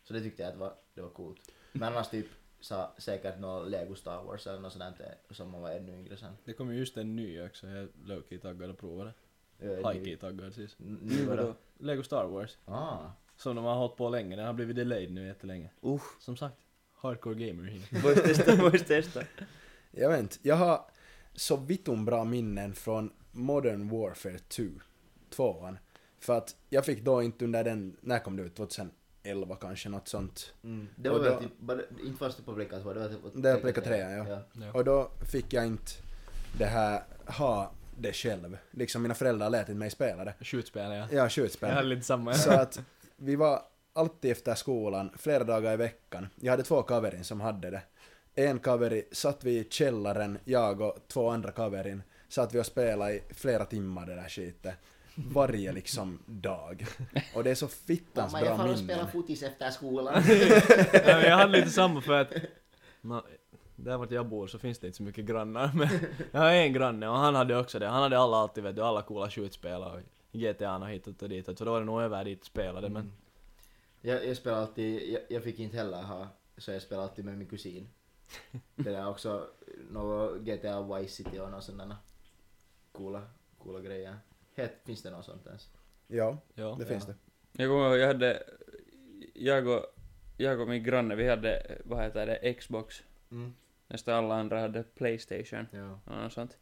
B: Så det tyckte jag att var, det var coolt. Men annars typ sa säkert någon Lego Star Wars eller något sånt där som man var ännu yngre sen.
D: Det kom ju just en ny också, jag är lowkey taggad att prova det.
B: Jag är
D: Highkey taggad siis.
B: ny- ny- vadå?
D: Lego Star Wars.
B: Ah.
D: Som de har hållit på länge, den har blivit delayed nu jättelänge.
C: Uff.
D: Som sagt, hardcore gamer here.
C: Voisi testa, voisi testa.
A: Jag vet inte, jag har så vittum bra minnen från Modern Warfare 2, tvåan. För att jag fick då inte under den, när kom det ut? 2011 kanske, något sånt.
B: Mm. Det
A: Och
B: var väl
A: då-
B: typ, bara, inte först på Blecka 2, det var typ på
A: Det var Blecka trean, ja.
D: Ja.
A: Och då fick jag inte det här, ha det själv. Liksom mina föräldrar lät inte mig spela det.
D: Skjutspel ja.
A: Jag har
D: Jag hade
A: skjutspel.
D: lite samma.
A: Så att vi var alltid efter skolan, flera dagar i veckan. Jag hade två kaverin som hade det. En kaveri satt vi i källaren, jag och två andra kaverin, satt vi och spelade i flera timmar det där skitet. Varje liksom dag. Och det är så fittans
B: Mamma jag
A: bra
B: får spela
A: minnen.
B: fotis efter skolan.
D: Nej, men jag hade lite samma för att nå, där vart jag bor så finns det inte så mycket grannar men jag har en granne och han hade också det. Han hade alla alltid vet du, alla coola skjutspel och GTA och hit och dit så då var det nog över dit spelade men
B: Jag, jag spelar alltid, jag, jag fick inte heller ha, så jag spelar alltid med min kusin. Det där är också, något GTA Vice City och några sådana coola, coola grejer. Het, finns det något sånt ens?
A: Ja,
D: ja.
A: det finns
B: Ja.
A: det.
C: Jag kommer ihåg, jag hade, jag och, jag och min granne, vi hade, vad heter det, Xbox.
B: Mm.
C: Nästan alla andra hade Playstation
B: Ja.
C: och något sånt.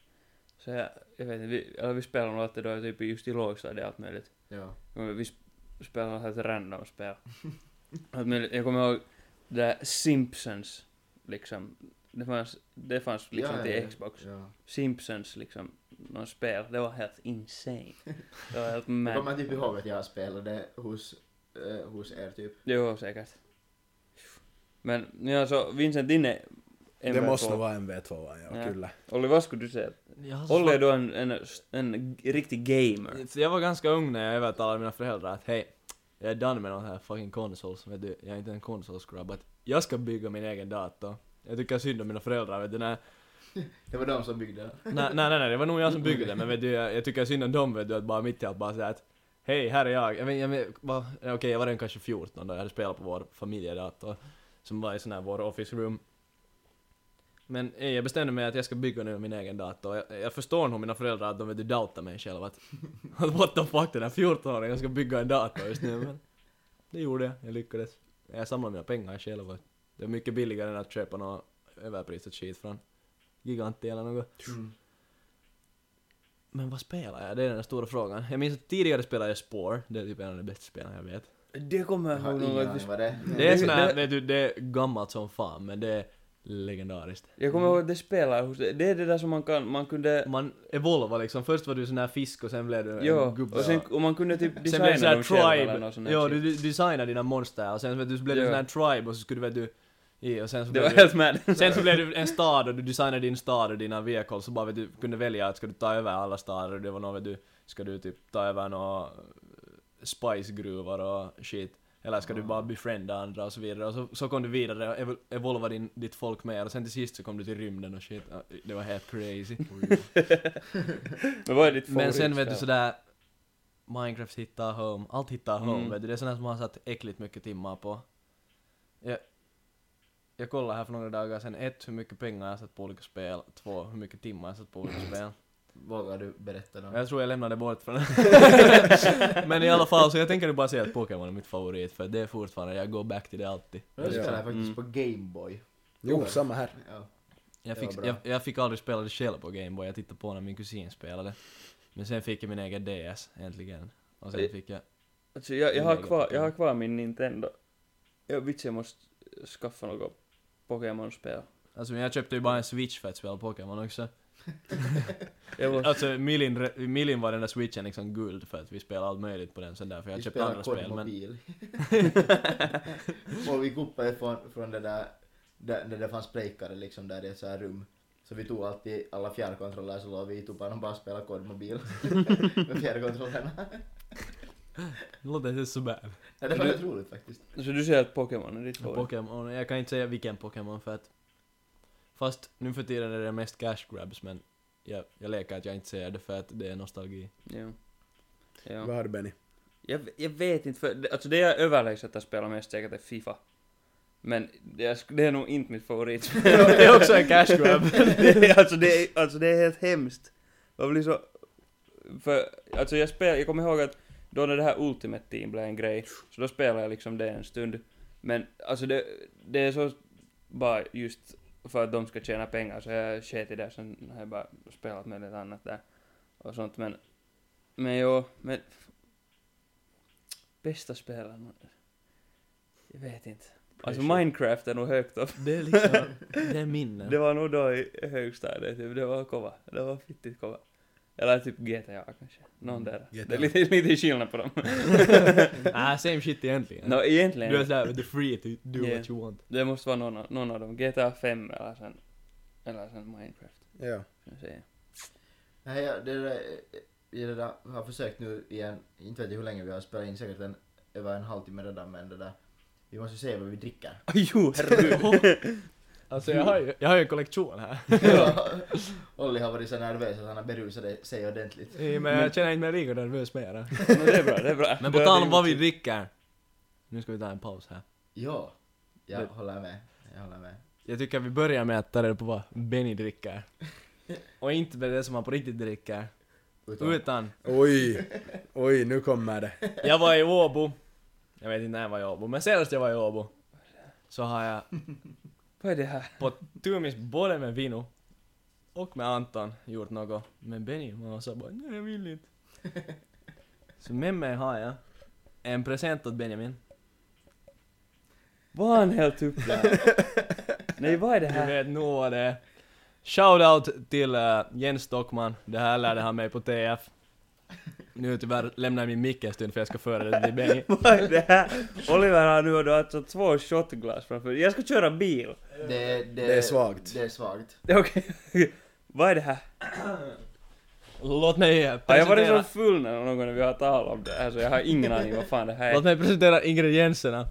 C: Så jag, jag vet inte, vi, eller vi spelade nog alltid då typ just i lågstadiet allt möjligt.
B: Ja.
C: Och Vi sp- spelade något helt random spel. allt möjligt. Jag kommer ihåg det där Simpsons, liksom. Det fanns, det fanns liksom
B: ja,
C: till
B: ja,
C: Xbox.
B: Ja.
C: Simpsons, liksom, någon spel. Det var helt insane. Det var helt
B: Jag kommer
C: mad.
B: typ ihåg att jag spelade hos, eh, hos er typ.
C: Jo, säkert. Men ja, så Vincent, din är
A: Det måste nog vara MV2, ja,
C: Ja.
A: kyllä.
C: Olli, vad skulle du säga?
D: Jag har så
C: Olli är
D: svårt-
C: då en, en, en g- riktig gamer.
D: Så jag var ganska ung när jag övertalade mina föräldrar att hej, jag är done med de här fucking consoles, vet du, jag är inte en konsolsgrabb, att jag ska bygga min egen dator. Jag tycker synd om mina föräldrar, vet du, när
B: Det var de som byggde
C: Mm.
B: den.
D: Nej, nej, nej, nej, det var nog jag som byggde det, men vet du, jag, jag tycker synd om dem vet du, att bara mitt i allt bara säga att Hej, här är jag. jag, men, jag men, va, ja, Okej, jag var den kanske 14 då, jag hade spelat på vår familjedator som var i sån här vår office room. Men eh, jag bestämde mig att jag ska bygga nu min egen dator. Jag, jag förstår nog mina föräldrar att de vet du doubtar mig själv att att what the fuck den här 14-åringen ska bygga en dator just nu men det gjorde jag, jag lyckades. Jag samlade mina pengar själv och det var mycket billigare än att köpa något överprisat skit från Giganti eller något.
B: Mm.
D: Men vad spelar jag? Det är den stora frågan. Jag minns att tidigare spelade jag Spore, det är typ en av de bästa spelarna jag vet.
C: Det kommer
B: Jag
C: jag
B: har
C: ihåg nog
B: ingen
C: att vi
B: aning vad det är.
D: Det är
C: Mm. det-
D: sån här,
C: det-
D: vet du, det är gammalt som fan men det är legendariskt.
C: sp- Jag kommer ihåg att det spelar hos dig. Det är det där som man kan, man kunde...
D: Man evolvar liksom, först var du sån här fisk och sen blev du en
C: Jo,
D: gubbe.
C: och sen och man kunde typ
D: Sen blev det
C: designa
D: sån här
C: dem själv eller
D: tribe,
C: något sånt där
D: ja
C: shit.
D: du, du designar dina monster och sen vet du, så blev du
C: typ. Ja.
D: sån här tribe och så skulle du vet du, i, och sen
C: Det
D: så blev
C: var
D: du-
C: helt mad.
D: Sen så blev du en stad och du designade din stad och dina vehicles så bara vet du kunde välja att ska du ta över alla städer och det var något vet du, ska du typ ta över några spicegruvor eh, och shit. Eller ska du bara befrienda andra och så vidare. Och så, så kom du vidare och evol- evolva din, ditt folk mer och sen till sist så kom du till rymden och shit. Ja, Det var helt crazy.
C: Men vad är ditt
D: Men sen vet du
C: favoritspel?
D: sådär Minecraft hittar home, allt hittar home
C: Mm.
D: vet du. Det är sånt som man har satt äckligt mycket timmar på. Jag, jag kollade här för några dagar sedan, ett, hur mycket pengar jag har satt på olika spel, två, hur mycket timmar jag har satt på olika spel.
B: Vågar du berätta något?
D: Jag tror jag lämnade bort från Men i alla fall, så jag tänker bara säga att Pokémon är mitt favorit för det är fortfarande, jag går back till det alltid.
B: Jag spelar
A: Ja.
C: Mm.
B: faktiskt på Gameboy.
A: Jo, samma här.
B: Ja.
D: Jag
B: Det
D: fick,
B: var bra.
D: jag, jag fick aldrig spela det själv på Gameboy, jag tittade på när min kusin spelade. Men sen fick jag min egen DS, äntligen. Och sen
B: Eh,
C: Oj.
D: fick jag...
C: Alltså, jag, jag, har
D: Inlägget
C: kvar,
D: på
C: jag har kvar min Nintendo. Jag vits, jag måste skaffa något Pokémon-spel.
D: Alltså men jag köpte ju bara en Switch för att spela Pokémon också.
C: Mm. Jag måste...
D: Alltså Milin, re- Milin var den där switchen liksom guld för att vi spelade allt möjligt på den sen där, för jag
B: Vi
D: köpte
B: spelar
D: andra spel men...
B: Kodmobil. och vi kuppade från, från det där, där, där det fanns breakare liksom där i ett så här rum. Så vi tog alltid alla fjärrkontroller så låg vi i tupan och bara spelade kodmobil med fjärrkontrollerna.
D: Det låter inte så bad.
B: Ja, det var rätt roligt faktiskt.
C: Så du säger att Pokémon är ditt
D: Ja,
C: favorit?
D: Pokémon, jag kan inte säga vilken Pokémon för att... Fast nu för tiden är det mest cash grabs men jag, jag leker att jag inte säger det för att det är nostalgi.
C: Ja. ja.
A: Vad har du Benny?
C: Jag, jag vet inte, för det- alltså det jag överlägset att spela mest säkert är Fifa. Men det är, det är nog inte mitt favoritspel.
D: Det är också en cash grab.
C: det är, alltså, det är, alltså det är helt hemskt. Jag blir så... För, alltså jag spelar, jag kommer ihåg att då när det här Ultimate Team blev en grej, så då spelade jag liksom det en stund. Men alltså det, det är så bara just för att de ska tjäna pengar så jag sket i det sen har jag bara spelat med lite annat där och sånt men men jo, men bästa spelaren jag vet inte. Alltså Minecraft är nog högt upp.
D: Det är liksom, det är minnen.
C: Det var nog då i högstadiet, typ. det var kova. Det var fittigt kova. Eller typ GTA kanske. Någon där.
A: GTA.
C: Det är lite, lite skillnad på dem.
D: ah, same shit egentligen.
C: Nå egentligen.
D: Du är sådär, the free to do
C: Yeah.
D: what you want.
C: Det måste vara någon, av- någon av dem. GTA 5 eller sen, eller sen Minecraft.
A: Ja.
C: ska jag säga.
B: Nej, jag, det där, jag, det där, jag har försökt nu igen, inte vet jag hur länge vi har spelat in, säkert en, över en halvtimme redan men det där, vi måste se vad vi dricker.
C: jo, Oh, herregud.
D: Alltså jag har ju, jag har ju en kollektion här.
B: Olli har varit så nervös att han har berusat sig ordentligt.
D: men, jag känner inte mig lika nervös mera.
C: Men det är bra, det är bra.
D: Men på
C: Då
D: tal
C: är
D: om
C: det
D: vad vi dricker. Nu ska vi ta en paus här.
B: Ja, jag
D: Men-
B: håller med. Jag håller med.
D: Jag tycker vi börjar med att ta reda på vad Benny dricker. Och inte med det som han på riktigt dricker.
B: Utom,
D: Utan,
A: Oj, oj, nu kommer det.
D: jag var i Åbo. Jag vet inte när jag var i Åbo, men senast jag var i Åbo. Så har jag
C: Vad är det här?
D: på tumis både med Vino och med Anton gjort något. Men Benny var så bara nej jag vill inte. Så med mig har jag en present åt Benjamin.
C: Var han helt upp där? Nej, vad är det
D: Du
C: här?
D: vet nog vad det är. Shoutout till eh, Jens Stockman, det här lärde han mig på TF. Nu tyvärr lämnar jag min mick en stund för jag ska föra det till Benny.
C: Vad är det här? Oliver har nu då alltså två shotglas framför Jag ska köra bil.
B: det, det,
A: Det är svagt.
B: Det är svagt.
C: Okej. Vad är det här?
D: Låt mig eh,
C: Har jag varit
D: presentera,
C: så full när någon gång när vi har talat om det här så jag har ingen aning vad fan det här
D: låt
C: är.
D: mig presentera ingredienserna.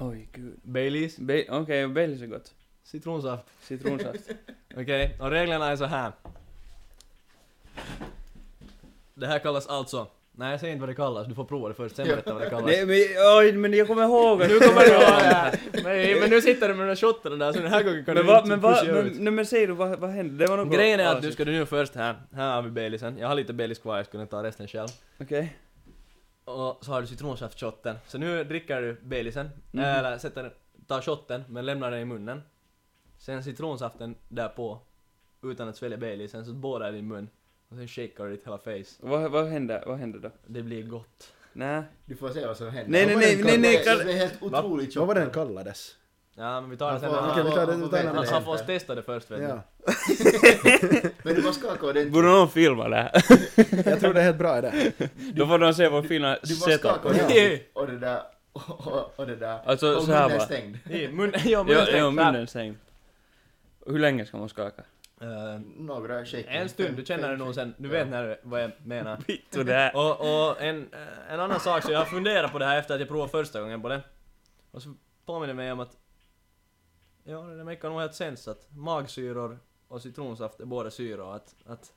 C: Oj gud.
D: Baileys,
C: Ba- Okej, Baileys är gott.
D: citronsaft.
C: Citronsaft.
D: Okej, och reglerna är så här. Det här kallas alltså... Nej, jag säger inte vad det kallas, du får prova det först, sen berätta vad det kallas.
C: Nej men, oj, men jag kommer ihåg att...
D: Nu kommer det vara... Nej, men nu sitter du med den där shotten där, så den här gången kan
C: Men
D: du
C: vad,
D: inte
C: men
D: pusha
C: vad,
D: ut.
C: men, nej, men säg du vad, vad hände? Det var något...
D: Grejen är att du ska du nu först här, här har vi Baileysen. Jag har lite Baileys kvar, jag skulle ta resten själv.
C: Okej.
D: Och så har du citronsaft-shotten. Så nu dricker du Baileysen,
C: Mhm.
D: eller sätter, tar shotten men lämnar den i munnen. Sen citronsaften därpå, utan att svälja Baileysen, så båda är i din mun. Och sen shakar du ditt hela face.
C: Vad, vad hände? Vad hände då?
D: Det blir gott.
C: Nej.
B: Du får se vad som händer.
C: Nej, nej, nej, nej, nej,
B: Det
C: Kalle.
B: är helt otroligt
A: Vad var
B: tjockt.
A: den kallades?
D: Ja men vi tar det sen.
B: Han får-
A: Okej, vi
D: Han,
A: tar det-
B: han
A: vi
B: får
A: tar
B: veta
A: den
B: det
A: andra.
D: han får
B: efter.
D: oss testa det först vet
A: Ja.
B: Men du måste skaka ordentligt.
C: Borde någon filma det här?
A: Jag tror det är helt bra idé.
C: Då får de se vad fina
B: Du måste skaka
C: setup
A: Ja.
B: ordentligt. Och det där... Och, och, och det där...
C: Alltså,
B: och
C: så här
B: munnen är
C: va.
B: stängd.
D: du. I mun, ja,
C: Ja,
D: munnen
C: ja,
D: stängd.
C: munnen stängd. Hur länge ska man skaka?
D: Eh,
B: Några shaker.
D: en stund, du känner det nog sen, du vet när du, vad jag menar.
C: Vittu det här.
D: Och, och en, eh, en annan sak, så jag har funderat på det här efter att jag provade första gången på det. Och så påminner det mig om att... Ja, det märker nog helt sens att magsyror och citronsaft är båda syror. Att, att,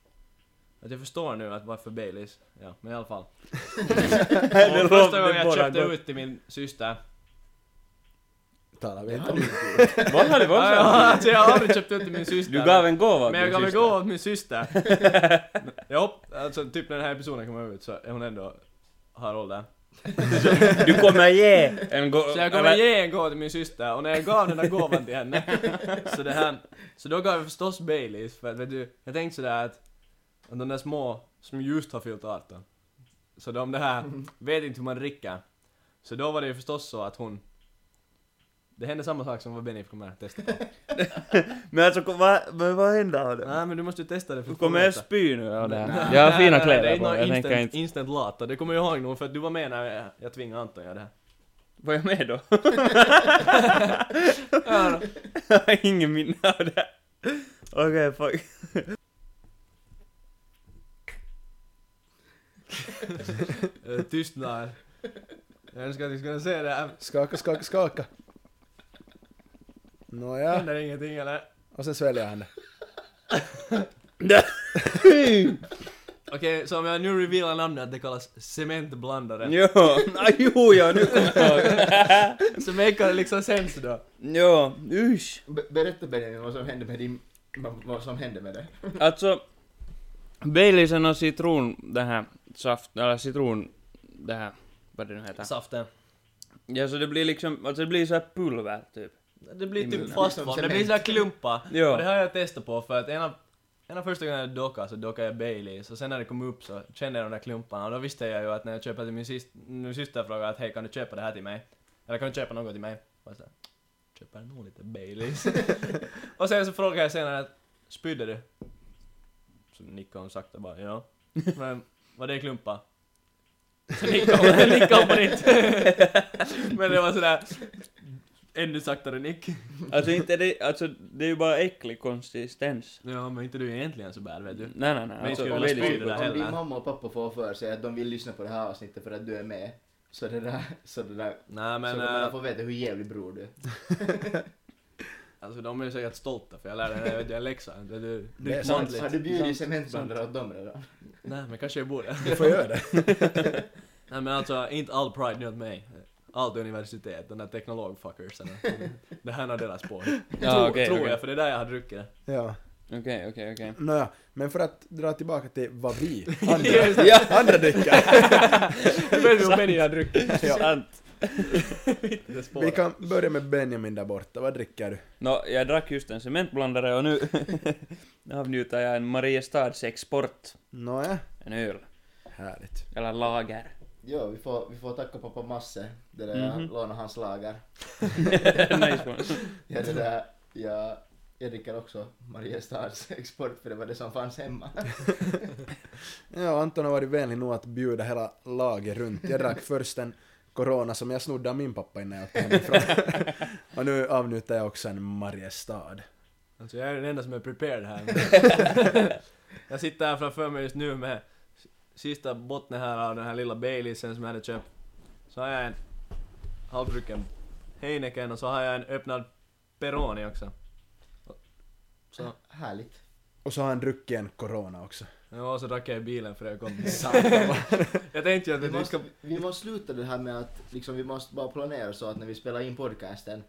D: att jag förstår nu att varför Baileys... Ja, men i alla fall.
C: Det
D: Och första
C: låter
D: gången jag
C: båda
D: köpte
C: gott.
D: ut till min syster...
A: Talar vi
B: Det
A: inte
B: har
A: om
B: ni
A: det?
B: inte gjort.
C: Vad har det varit?
D: alltså, jag har aldrig köpt ut till min syster.
C: Du gav en gåva åt
D: Men
C: din
D: jag gav en
C: syster.
D: gåva åt min syster. jag hopp, alltså typ när den här episoden kommer ut så är hon ändå... Har åldern.
C: Du kommer ge en gåva.
D: Så jag kommer ge en gåva till min syster och när jag gav den där gåvan till henne så, det här, så då gav jag förstås Baileys för att vet du, jag tänkte sådär att, att de där små som just har fyllt 18 så de det här
C: Mm.
D: vet inte hur man dricker. Så då var det ju förstås så att hon det hände samma sak som vad Benny kommer att testa på.
C: Men alltså, kom- vad, men vad händer av det?
D: Nej men du måste ju testa det för
C: Du
D: att få
C: kommer jag
D: veta.
C: spy nu av det här.
D: Nej,
C: Jag har
D: nej,
C: fina
D: nej, det är
C: kläder på
D: någon
C: mig, jag tänker
D: instant,
C: inte...
D: instant lata, det kommer jag ihåg nog för att du var med när jag, jag tvingade Anton att göra det här.
C: Var jag med då? Jag har ingen minne av det. Okej, fuck.
D: Eh, Tystnad. Jag önskar att ni skulle se det här.
A: Skaka, skaka, skaka. Nåja,
D: Händer ingenting eller?
A: och sen sväljer han det.
D: Okej, så om jag nu revealar namnet, det kallas cementblandaren.
C: Jo, nej, jo, ja, nu kommer jag ihåg.
D: Så maker det liksom sens då.
C: Jo, usch.
B: Be- Berätta Benjamin vad som hände med din... vad- Vad som hände med det.
C: Alltså, Baileysen och citron, det här, saft, eller citron, det här, vad det nu heter.
D: Saften.
C: Ja, så det blir liksom, alltså det blir så här pulver, typ.
D: Det blir
C: Mm.
D: typ fast form, det blir sådär klumpar.
C: Ja.
D: Och det har jag testat på för att en av, en av första gångerna jag dockade så dockade jag Baileys och sen när det kom upp så kände jag de där klumparna och då visste jag ju att när jag köper till min syster, min syster frågade att hej kan du köpa det här till mig? Eller kan du köpa något till mig? Och jag sa, köper nog lite Baileys. och sen så frågade jag senare att spydde du? Så nickade hon sakta bara ja. Men var det klumpar? Så nickade hon, nickade hon på nytt. Men det var sådär ännu saktare nick.
C: Alltså inte det, alltså det är ju bara äcklig konsistens.
D: Ja, men inte du egentligen så bad vet du.
C: Nej, nej, nej.
D: Men
C: alltså,
D: skulle vilja
C: Baileys-
D: spy det där
B: Om
D: heller.
B: din mamma och pappa får för sig att de vill lyssna på det här avsnittet för att du är med. Så det där... Så det där...
D: Nej
B: så
D: men,
B: kommer de
D: äh,
B: få veta hur jävlig bror du är.
D: alltså de är säkert stolta för jag lärde mig vet du, en läxa. Vet du,
A: Det är sant.
D: måntligt.
B: Har du bjudit cementblandare åt dem redan?
D: Nej men kanske jag borde.
A: Du får göra det.
D: Nej men alltså inte all pride nu åt mig. Allt universitet, den där teknologfuckersen. Det här är deras spår.
C: Ja,
D: tror
C: okej,
D: tror
C: okej.
D: jag, för det är där jag har druckit det.
A: Ja.
C: Okej, okej, okej.
A: Nåja, men för att dra tillbaka till vad vi
D: Just
A: andra, andra dricker.
D: Du vet hur Benny har druckit.
A: Ja.
C: Sant.
D: Det
A: Vi
D: spåret.
A: kan börja med Benjamin där borta. Vad dricker du?
C: Nå, jag drack just en cementblandare och nu avnjuter jag en Mariestads export.
A: Nåja,
C: En öl.
A: härligt.
C: Eller lager.
B: Ja, vi får, vi får tacka pappa Masse. Det där
C: Mhm.
B: jag lånade hans lager.
C: nice one.
B: Ja, det där, jag, jag dricker också Mariestads export för det var det som fanns hemma.
A: Ja, Anton har varit vänlig nog att bjuda hela laget runt. Jag drack först en Corona som jag snodde av min pappa innan jag åkte hemifrån. Och nu avnjuter jag också en Mariestad.
D: Alltså jag är den enda som är prepared här. jag sitter här framför mig just nu med sista botten här av den här lilla Baileysen som jag hade köpt. Så har jag en halvdrucken Heineken och så har jag en öppnad Peroni också. Så,
B: Härligt.
A: Och så har han druckit en Corona också.
D: ja, och så drack jag i bilen för jag kom Jag tänkte ju att
B: Vi
D: vi ska...
B: måste, vi måste sluta det här med att liksom, vi måste bara planera så att när vi spelar in podcasten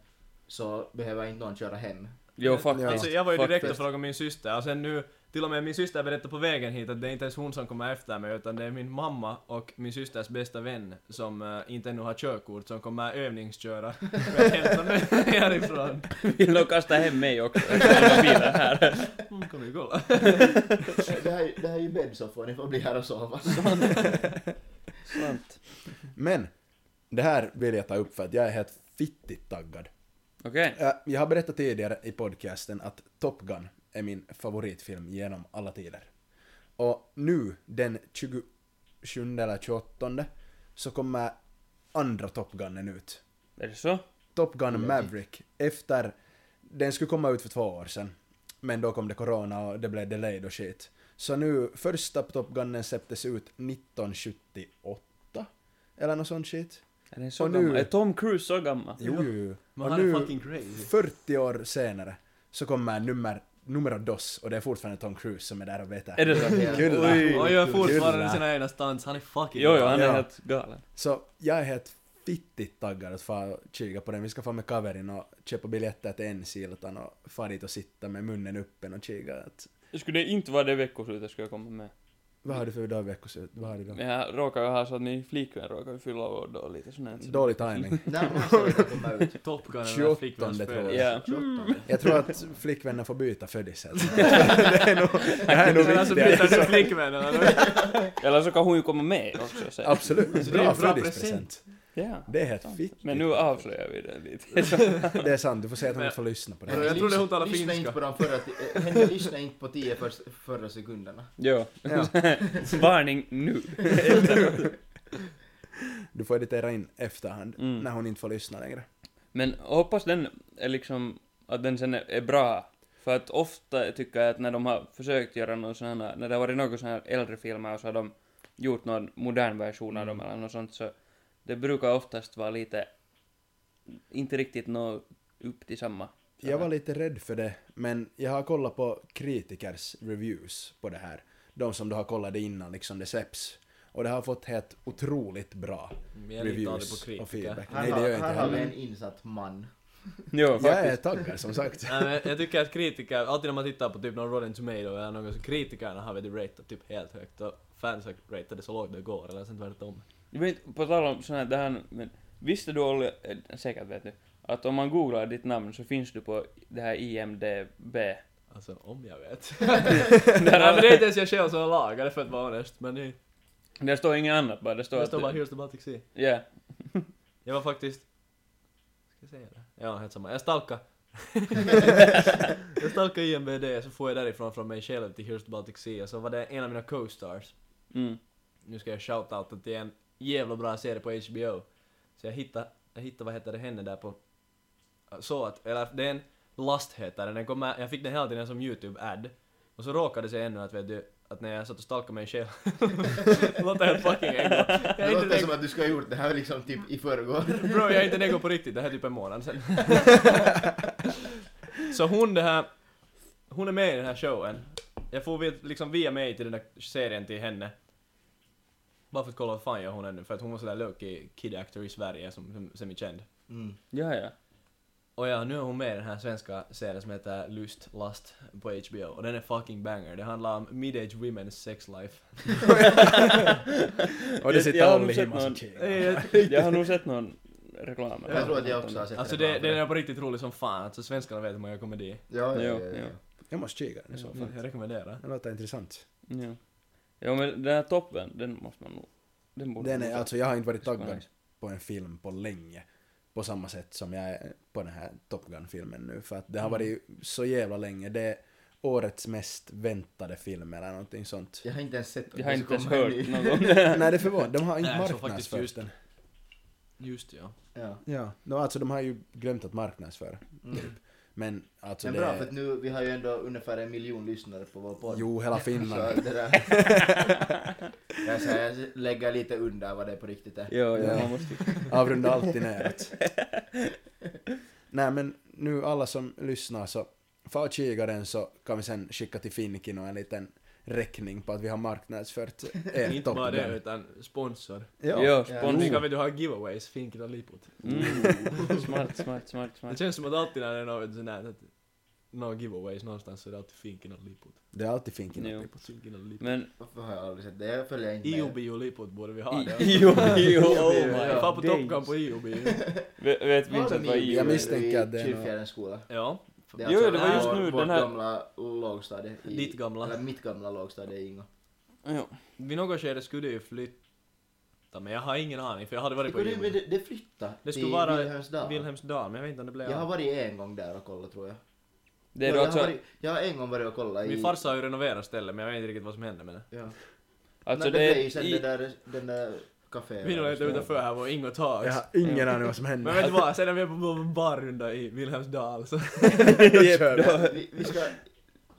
B: så behöver inte någon köra hem.
C: Jo, faktiskt.
D: Alltså jag var ju direkt och
C: Faktiskt.
D: frågade min syster och sen nu till och med min syster berättade på vägen hit att det är inte ens hon som kommer efter mig utan det är min mamma och min systers bästa vän som eh, inte ännu har körkort som kommer övningsköra för att hämta mig härifrån.
C: Vill nog kasta hem mig också. Jag har bilen här.
D: Hon kommer ju kolla.
B: Det här, det här är ju bäddsoffor, ni får bli här och sova.
C: Sant.
A: Men, det här vill jag ta upp för att jag är helt fittigt taggad.
C: Okej.
A: Äh, Jag har berättat tidigare i podcasten att Top Gun är min favoritfilm genom alla tider. Och nu, den 27 eller 28 så kommer andra Top Gunen ut.
C: Är det så?
A: Top Gun Maverick efter... Den skulle komma ut för två år sedan. Men då kom det corona och det blev delayed och shit. Så nu, första Top Gunnen släpptes ut 1978. Eller något sånt shit.
C: Är den så
A: Och nu-
C: gammal? Är Tom Cruise så gammal?
A: Jo, jo, jo.
D: Man
A: Och
D: han är
A: nu-
D: fucking crazy.
A: 40 år senare så kommer nummer, nummer dos och det är fortfarande Tom Cruise som är där och betar.
C: Är det så?
A: Kyllä.
C: Oj.
D: Och gör fortfarande
A: Kyllä.
D: sina egna stunts, han är fucking
C: Jo, jo, han är
A: Ja.
C: helt galen.
A: Så jag är helt fittigt taggad att fara och kika på den. Vi ska få med kaverin och köpa biljetter till en siltan och fara dit och sitta med munnen öppen och kika. Att,
C: Skulle det inte vara det veckoslutet skulle jag komma med.
A: vad har du för dag veckoslut? Vad har du då?
C: Men jag råkar ju ha så att min flickvän råkar ju fylla år då lite sånt här.
A: Dålig timing.
B: När måste den komma ut?
D: Top Gun är den här
A: 28
D: flickvänsspelaren.
A: tror
C: Ja.
A: jag.
B: 28.
A: Jag tror att flickvännen får byta födelsel. det är nog, det här är nog
D: Men alltså
A: viktigare.
D: byter till flickvän eller? något.
C: Eller så kan hon ju komma med också sen.
A: Absolut,
D: Så det är en
A: bra
D: bra
A: födelsedagspresent.
C: Ja.
A: Det är helt fittigt.
C: Men nu avslöjar vi det lite.
A: Det är sant, du får säga att hon inte får lyssna på det.
D: Jag trodde hon talade
B: Lyssna
D: finska.
B: inte på de förra, ti- eh, henne lyssna inte på tio för, förra sekunderna.
C: jo.
A: Ja.
C: Varning nu.
A: Du får editera in efterhand,
C: Mm.
A: när hon inte får lyssna längre.
C: Men hoppas den är liksom, att den sen är, är bra. För att ofta tycker jag att när de har försökt göra någon sån här, när det har varit någon sån här äldre filmer och så har de gjort någon modern version av dem eller något sånt så det brukar oftast vara lite, inte riktigt nå upp till samma.
A: Jag var lite rädd för det, men jag har kollat på kritikers reviews på det här. De som du har kollat det innan liksom det släpps. Och det har fått helt otroligt bra
D: Jag litar aldrig på
A: reviews
D: kritiker.
A: och feedback.
B: Här,
A: Nej, det
B: har,
A: gör jag inte
B: här har vi en
A: heller.
B: insatt man.
C: Jo,
A: Jag är
C: faktiskt.
A: taggad som sagt.
D: Nej, men jag tycker att kritiker, alltid när man tittar på typ någon Rotten Tomato eller något så kritikerna har väl ratat typ helt högt och fans har ratat det så lågt det går eller sen tvärtom.
C: Jag vet, på tal om sån här, det här, men visste du Olli, eh, säkert vet du, att om man googlar ditt namn så finns du på det här IMDB.
D: Alltså om jag vet.
C: där,
D: Nej men det är
C: har-
D: inte ens jag själv som har lagat det för att vara honest men det
C: där står inget annat bara, det står
D: det står bara
C: att...
D: Here's the Baltic Sea.
C: Ja.
D: Jag var faktiskt... Ska jag säga det? Ja, helt samma. Jag stalkade. jag stalkade IMBD, så får jag därifrån från mig själv till Here's the Baltic Sea, och så var det en av mina co-stars.
C: Mm.
D: Nu ska jag shoutouta till en jävla bra serie på HBO. Så jag hittade, jag hittade vad heter det, henne där på... Så att, eller det är en Last heter den, den kommer, jag fick den hela tiden som YouTube-ad. Och så råkade det sig ännu att vet du, att när jag satt och stalkade mig själv... låter helt fucking äckligt. Jag
B: Det
D: är inte
B: låter
D: den-
B: som att du ska ha gjort det här liksom typ i förrgår.
D: Bro, jag är inte nego på riktigt, det här är typ en månad sen. så hon det här, hon är med i den här showen. Jag får vid- liksom via mig till den där serien till henne. Bara för att kolla vad fan gör hon ännu, för att hon var sådär low-key kid actor i Sverige som, som semi-känd.
B: Mm.
C: Ja, ja.
D: Och ja, nu är hon med i den här svenska serien som heter Lust, Last på HBO. Och den är fucking banger. Det handlar om mid-age women's sex life.
A: Och det
C: Jag- jag
A: sitter
C: har
A: Olli
C: nog sett
A: hemma som
C: någon-
A: kikar.
C: Jag har nog sett någon reklam.
B: Jag tror att jag också har sett
D: Alltså det, den är på riktigt rolig som fan. Alltså svenskarna vet hur man gör komedi.
B: Ja, ja,
C: Jo,
B: ja, ja.
C: jo.
A: Jag måste kika den i så
C: Mm.
A: fall.
D: Jag rekommenderar.
A: Det låter intressant.
C: Ja. Jo, men den här toppen, den måste man nog... Den borde
A: Den
C: man
A: är,
C: nog-
A: alltså, jag har inte varit
C: skulle vara
A: taggad
C: nice.
A: på en film på länge. På samma sätt som jag är på den här Top Gun-filmen nu. För att det
D: Mm.
A: har varit så jävla länge. Det är årets mest väntade film eller någonting sånt.
B: Jag har inte ens sett den.
C: Jag har
B: Så
C: inte ens
B: kommer en
C: hört
B: ny.
C: någon gång.
A: Nej, det är förvånande. De har inte
D: Nej, jag såg faktiskt
A: marknadsfört
D: just-
A: den.
D: Just ja.
B: Ja.
A: Ja, no, alltså de har ju glömt att marknadsföra.
B: Mm.
A: Men alltså
B: Men
A: det...
B: bra, för att nu, vi har ju ändå ungefär en miljon lyssnare på vår podd.
A: Jo, hela Finland.
B: Så det där. jag, ska, jag lägger lite under vad det på riktigt är.
C: Jo,
A: Ja.
C: ja. man måste
A: Avrunda alltid neråt. Nej men nu alla som lyssnar så få kika den så kan vi sen skicka till Finkin och en liten räkning på att vi har marknadsfört er
D: Inte
A: Top
D: bara det,
A: Gun.
D: utan sponsor.
A: Ja.
C: Jo,
D: Nu
C: sponsor.
D: kan vi du ha giveaways, finken och lipot.
C: Mm. Smart, smart, smart,
D: Det
C: smart.
D: känns som att alltid när det är något sånt där, att några giveaways någonstans så är det alltid finken och lipot.
A: Det är alltid Finkin.
C: Jo.
D: Finken och lipot.
C: Men...
B: Varför har jag aldrig sett det? Jag följer inte
D: IOB och lipot borde vi ha det.
C: Jo, jo, oh
D: Jag är fan på
C: my
D: Top Gun
C: days.
D: på IOB.
C: Vet, vet
B: Har de
C: Vincent vad
A: Jag
B: IOB
C: IO är?
A: minns- misstänker att det är
B: i
A: något-
B: Kyrkfjärdens skola.
D: Ja.
B: Det är alltså-
C: Jo, det var
B: vår-
C: just nu
B: vårt
C: den här-
B: gamla lågstadie. i-
D: Ditt gamla.
B: Eller mitt gamla lågstadie i Ingo.
C: Jo.
D: Vid något skede skulle jag ju flytta, men jag har ingen aning för jag hade varit på
B: Det, det,
D: IOB.
B: det, det flyttade
D: Det
B: till
D: skulle vara
B: Vilhelmsdal.
D: Vilhelmsdal, men jag vet inte om det blev
B: Jag har
D: av.
B: varit en gång där och kollat tror jag.
C: Det är
B: Ja,
C: då
B: jag, har
C: alltså...
B: varit, jag har en gång varit och kollat i...
D: Min farsa har ju renoverat stället men jag vet inte riktigt vad som hände med det.
B: Ja.
C: Alltså
B: Men det blev ju
C: det
B: sen
C: är...
B: den
C: i-
B: där, den där kaféen.
D: Vi låg lite utanför här var Ingo
A: Jag
D: Tags.
A: har ingen aning vad som
D: Men
A: händer.
D: vet du vad, sen när vi är på barrunda i Vilhelmsdal så
A: Jag kör.
B: Vi, vi ska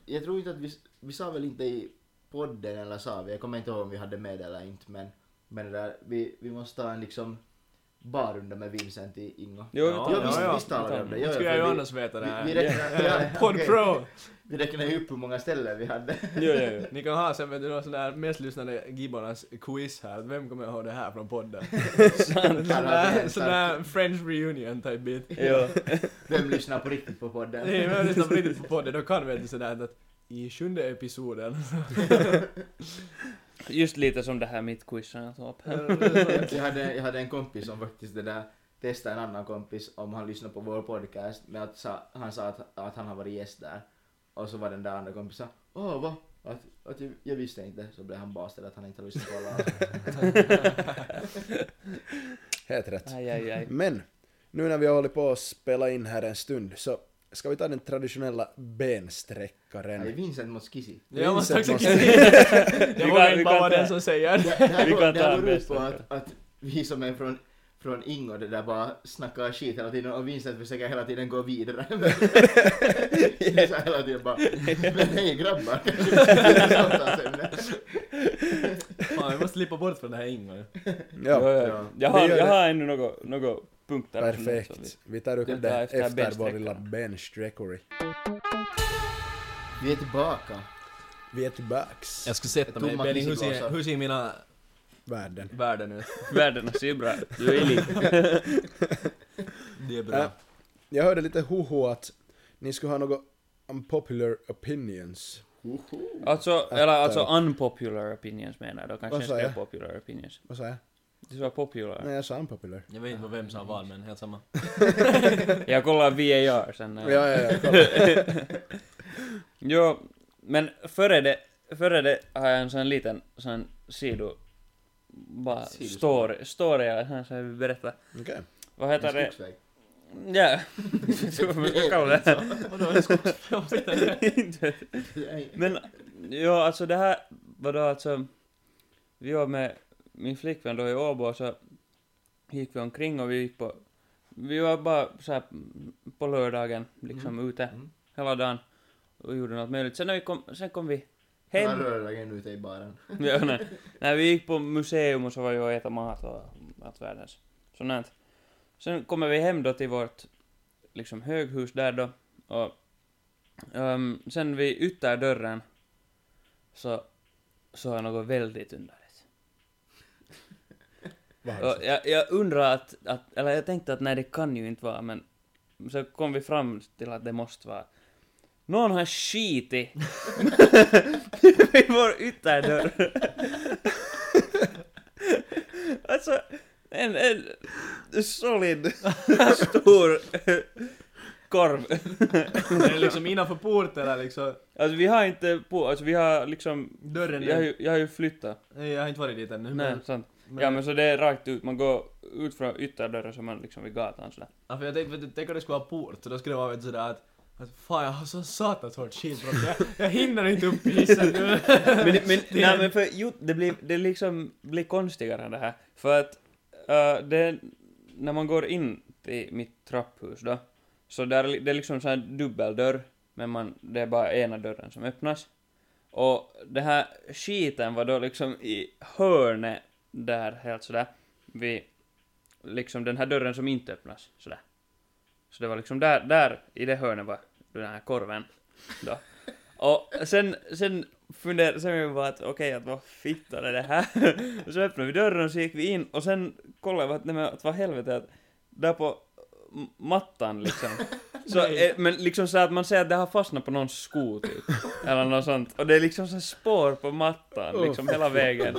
B: jag tror inte att vi, vi sa väl inte i podden eller sa vi, jag kommer inte ihåg om vi hade med det eller inte men, men det där, vi, vi måste ta en liksom barrunda med Vincent i Ingo.
C: Jo,
D: Ja,
B: ja, visst,
D: ja.
B: visst talade vi om det.
D: Nu
B: Ja,
D: skulle
B: för
D: jag ju
B: vi-
D: annars veta det
B: vi,
D: här.
B: vi räknar, ja,
D: Pod
B: okej.
D: Pro!
B: Vi räknar ju upp hur många ställen vi hade.
C: Jo, jo, jo.
D: Ni kan ha sen vet du någon sån där mest lyssnade gibbornas quiz här, att vem kommer ihåg det här från podden? sån där, sån där French reunion type bit.
C: jo.
B: Vem lyssnar på riktigt på podden?
D: Nej, men jag lyssnar på riktigt på podden, då kan vi inte sådär att i sjunde episoden.
C: Just lite som det här mitt quiz som jag tog upp.
B: jag, hade, jag hade en kompis som faktiskt det där testade en annan kompis om han lyssnade på vår podcast med att sa, han sa att, att han har varit gäst där. Och så var den där andra kompisen åh va? Att, att jag, jag visste inte. Så blev han bastad att han inte har lyssnat på alla avsnitt.
A: Helt rätt.
C: Aj, aj, aj.
A: Men, nu när vi har hållit på att spela in här en stund så ska vi ta den traditionella
B: Nej,
A: bensträckaren.
B: Vincent mot Skissi.
D: Jag måste också
A: måste-
D: Jag
C: Vi
D: vågar
C: kan-
D: inte
C: vi kan
D: bara
C: ta-
D: vara den som säger.
B: Det det här
C: Vi
B: går-
C: kan
B: det
C: ta
B: här
C: en
B: går ut
C: bästa.
B: på att, att vi som är från från Ingo det där bara snackar skit hela tiden och Vincent försöker hela tiden gå vidare. Men jag sa hela tiden bara men hej grabbar, kanske vi ska byta samtalsämne."
D: Fan, vi måste slippa bort från det här Ingo.
A: Ja,
B: Ja.
C: Jag
A: Vi
C: har,
A: gör
C: jag
A: det.
C: har ännu några, några punkter. som vi-
A: perfekt. Vi tar upp
C: Det
A: det
C: var efter
A: efter vår
C: bensträckaren.
A: lilla bensträckare.
B: Vi är tillbaka.
A: Vi är tillbaks.
D: Jag skulle sätta mig.
B: Tomma
D: Benny, hur
B: kissiglasar.
D: ser, hur ser mina
A: Världen.
D: värden ut?
C: Världen ser ju bra ut. Du är elit.
D: Det är
A: Äh, jag hörde lite hoho att ni skulle ha något unpopular opinions.
C: Alltså, eller alltså unpopular opinions menar jag då. Kanske
A: Vad
C: inte
A: sa
C: skrev
A: jag?
C: popular opinions.
A: Vad sa jag?
C: Det var popular.
A: Nej, jag sa unpopular.
D: Jag vet inte vad vem som var men helt samma.
C: Jag kollar VAR sen.
A: Ja,
C: eh.
A: ja, ja. kolla.
C: Jo, men före det, före det har jag en sån liten sån sido... Bara
B: Sidospår.
C: story, story eller sån som jag vill berätta.
A: Okej.
C: Vad heter det?
B: Skogsväg.
C: Ja. Vad ska jag kalla det?
D: Vadå, en skogsfråga?
C: Inte. Men, ja alltså det här var då alltså, vi var med min flickvän då i Åbo och så gick vi omkring och vi gick på, vi var bara så här på lördagen liksom ute
B: Mm.
C: hela dagen och gjorde något möjligt. Sen när vi kom, sen kom vi
B: Hem.
C: hem.
B: Rördagen ute i baren.
C: ja, nej. nej, vi gick på museum och så var vi och äta mat och allt världens sånt. Sen kommer vi hem då till vårt liksom höghus där då och ehm, sen vid ytterdörren så såg jag något väldigt underligt.
A: Vad har du
C: Och
A: sagt?
C: jag, jag undrar att, att, eller jag tänkte att nej det kan ju inte vara men så kom vi fram till att det måste vara någon har skitit vid vår ytterdörr. alltså, en, en solid stor korv.
D: Det är liksom innanför porten eller liksom.
C: Alltså vi har inte på, alltså vi har liksom,
D: Dörren
C: jag har
D: är...
C: ju, jag har ju flyttat.
D: Nej, jag har inte varit dit ännu.
C: Nej,
D: men-
C: sant.
D: men-
C: Ja men så det är rakt ut, man går ut från ytterdörren så man liksom vid gatan sådär.
D: Ja, för jag tänkte, vet du, tänk om det skulle vara port, så då skulle det vara vet du, sådär att, att fan jag har så satans hårt skitbråck, jag, jag hinner inte upp i hissen nu.
C: men, men, nej, men för jo, det blir, det liksom blir konstigare än det här. För att eh, det, när man går in i mitt trapphus då, så där, är li- det är liksom så här dubbeldörr, men man, det är bara ena dörren som öppnas. Och det här skiten var då liksom i hörnet där, helt sådär, vid liksom den här dörren som inte öppnas, sådär. Så det var liksom där, där i det hörnet var den här korven då. Och sen, sen funderade sen vi bara att okej, att vad fittan är det här? och så öppnade vi dörren och så gick vi in och sen kollade vi att, nej men att vad helvete att där på m- mattan liksom. Så,
D: Nej.
C: eh, men liksom så att man ser att det har fastnat på någons sko typ. Eller något sånt. Och det är liksom så här spår på mattan liksom hela vägen.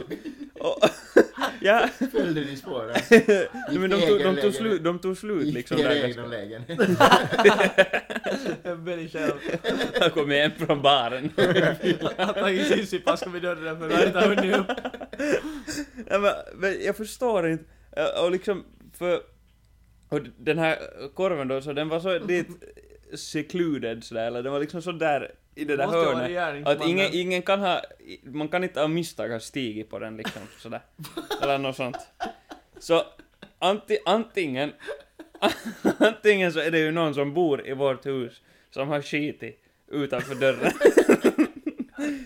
C: Och, ja,
B: Följde ni spåren?
C: nej, men de tog, de tog slut, de tog slut liksom
B: där.
C: där.
B: I era
C: ganska-
B: egna lägen.
D: Jag blir själv.
C: Jag kom hem från baren.
D: Jag har tagit sissipass vid dörren men jag har inte hunnit upp.
C: Nej, men, men jag förstår inte. Eh, Och liksom, för... Och d- den här korven då, så den var så dit secluded sådär, eller den var liksom så där i det där
D: Måste vara
C: hörnet.
D: regeringsmannen.
C: Att ingen, ingen kan ha, i- man kan inte av misstag ha stigit på den liksom sådär. Eller något sånt. Så anti, antingen, antingen så är det ju någon som bor i vårt hus som har skitit utanför dörren.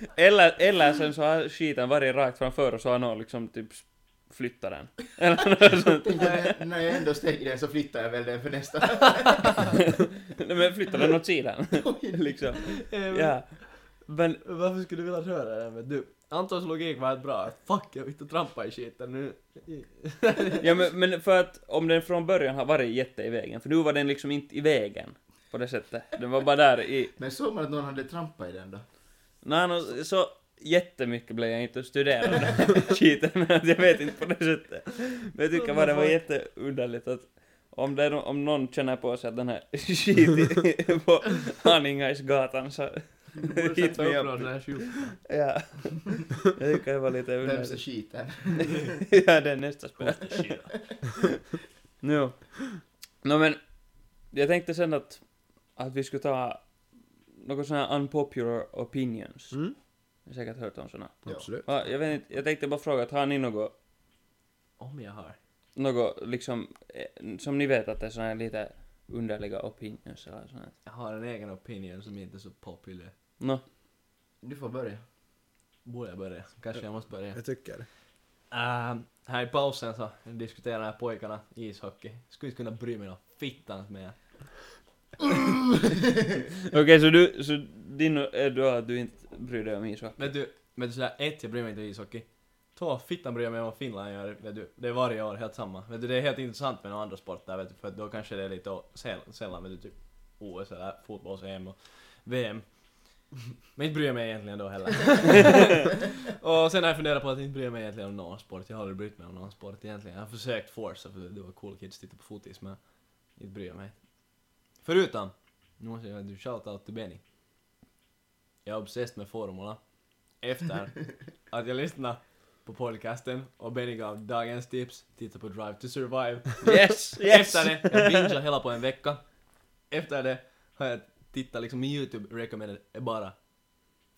C: Eller, eller sen så har skiten varit rakt framför och så har någon liksom typ flyttat den. Eller något sånt.
B: När- När jag ändå stänger den så flyttar jag väl den för nästa.
C: Nej men flyttar den åt sidan. liksom. Ja. Men
D: Eh, Varför skulle du vilja röra den? Men du, Antons logik var helt bra. Fuck, jag vill inte trampa i skiten nu.
C: Ja men, men för att om den från början har varit jätte i vägen, för nu var den liksom inte i vägen på det sättet. Den var bara där i...
B: Men såg man att någon hade trampat i den då?
C: Nej, nå, så jättemycket blev jag inte att studera den här skiten, men att jag vet inte på det sättet. Men jag tycker bara det var jätteunderligt att om, det, är nå- om någon känner på sig att den här skiten i- på Haningaisgatan så...
D: Du borde
C: Hit
D: sätta
C: me
D: upp
C: up.
D: någon sån här skjult.
C: Ja. Jag tycker det var lite
B: Vem så
C: underligt.
B: skiten?
C: Mm. ja, det är nästa spel. Jo. Nå men, jag tänkte sen att, att vi skulle ta något sån här unpopular opinions.
A: Mm?
C: Ni har säkert hört om såna.
B: Ja.
A: Absolut.
C: Ja, jag vet inte, jag tänkte bara fråga, att har ni något,
D: Om jag har.
C: något liksom, eh, som ni vet att det är såna här lite underliga opinions eller sånt här.
D: Jag har en egen opinion som inte är så populär.
C: Nå,
B: Du får börja.
D: Borde jag börja? Kanske jag måste börja.
A: Jag tycker det.
D: Ehm, här i pausen så diskuterade jag pojkarna ishockey. Skulle inte kunna bry mig någon fittans mer.
C: okej så du, så din är då att du inte bryr dig om ishockey?
D: Men du, men du sådär, ett, jag bryr mig inte om ishockey. Två, fittan bryr jag mig om vad Finland gör, vet du. Det är varje år helt samma. Vet du, det är helt intressant med några andra sporter, vet du, för då kanske det är lite å- säll- sällan, vet du, typ OS eller fotbolls-EM och VM. Men inte bryr jag mig egentligen då heller. och sen har jag funderat på att inte bryr jag mig egentligen om någon sport. Jag har aldrig brytt mig om någon sport egentligen. Jag har försökt forsa för det var cool kids titta på fotis, men inte bryr jag mig. Förutom, nu måste jag du shoutout till Benny. Jag är obsessed med formula efter att jag lyssnade på podcasten och Benny gav dagens tips, titta på Drive to Survive.
C: Yes! Yes!
D: Efter det, jag bingeade hela på en vecka. Efter det har jag tittat liksom i YouTube recommended är bara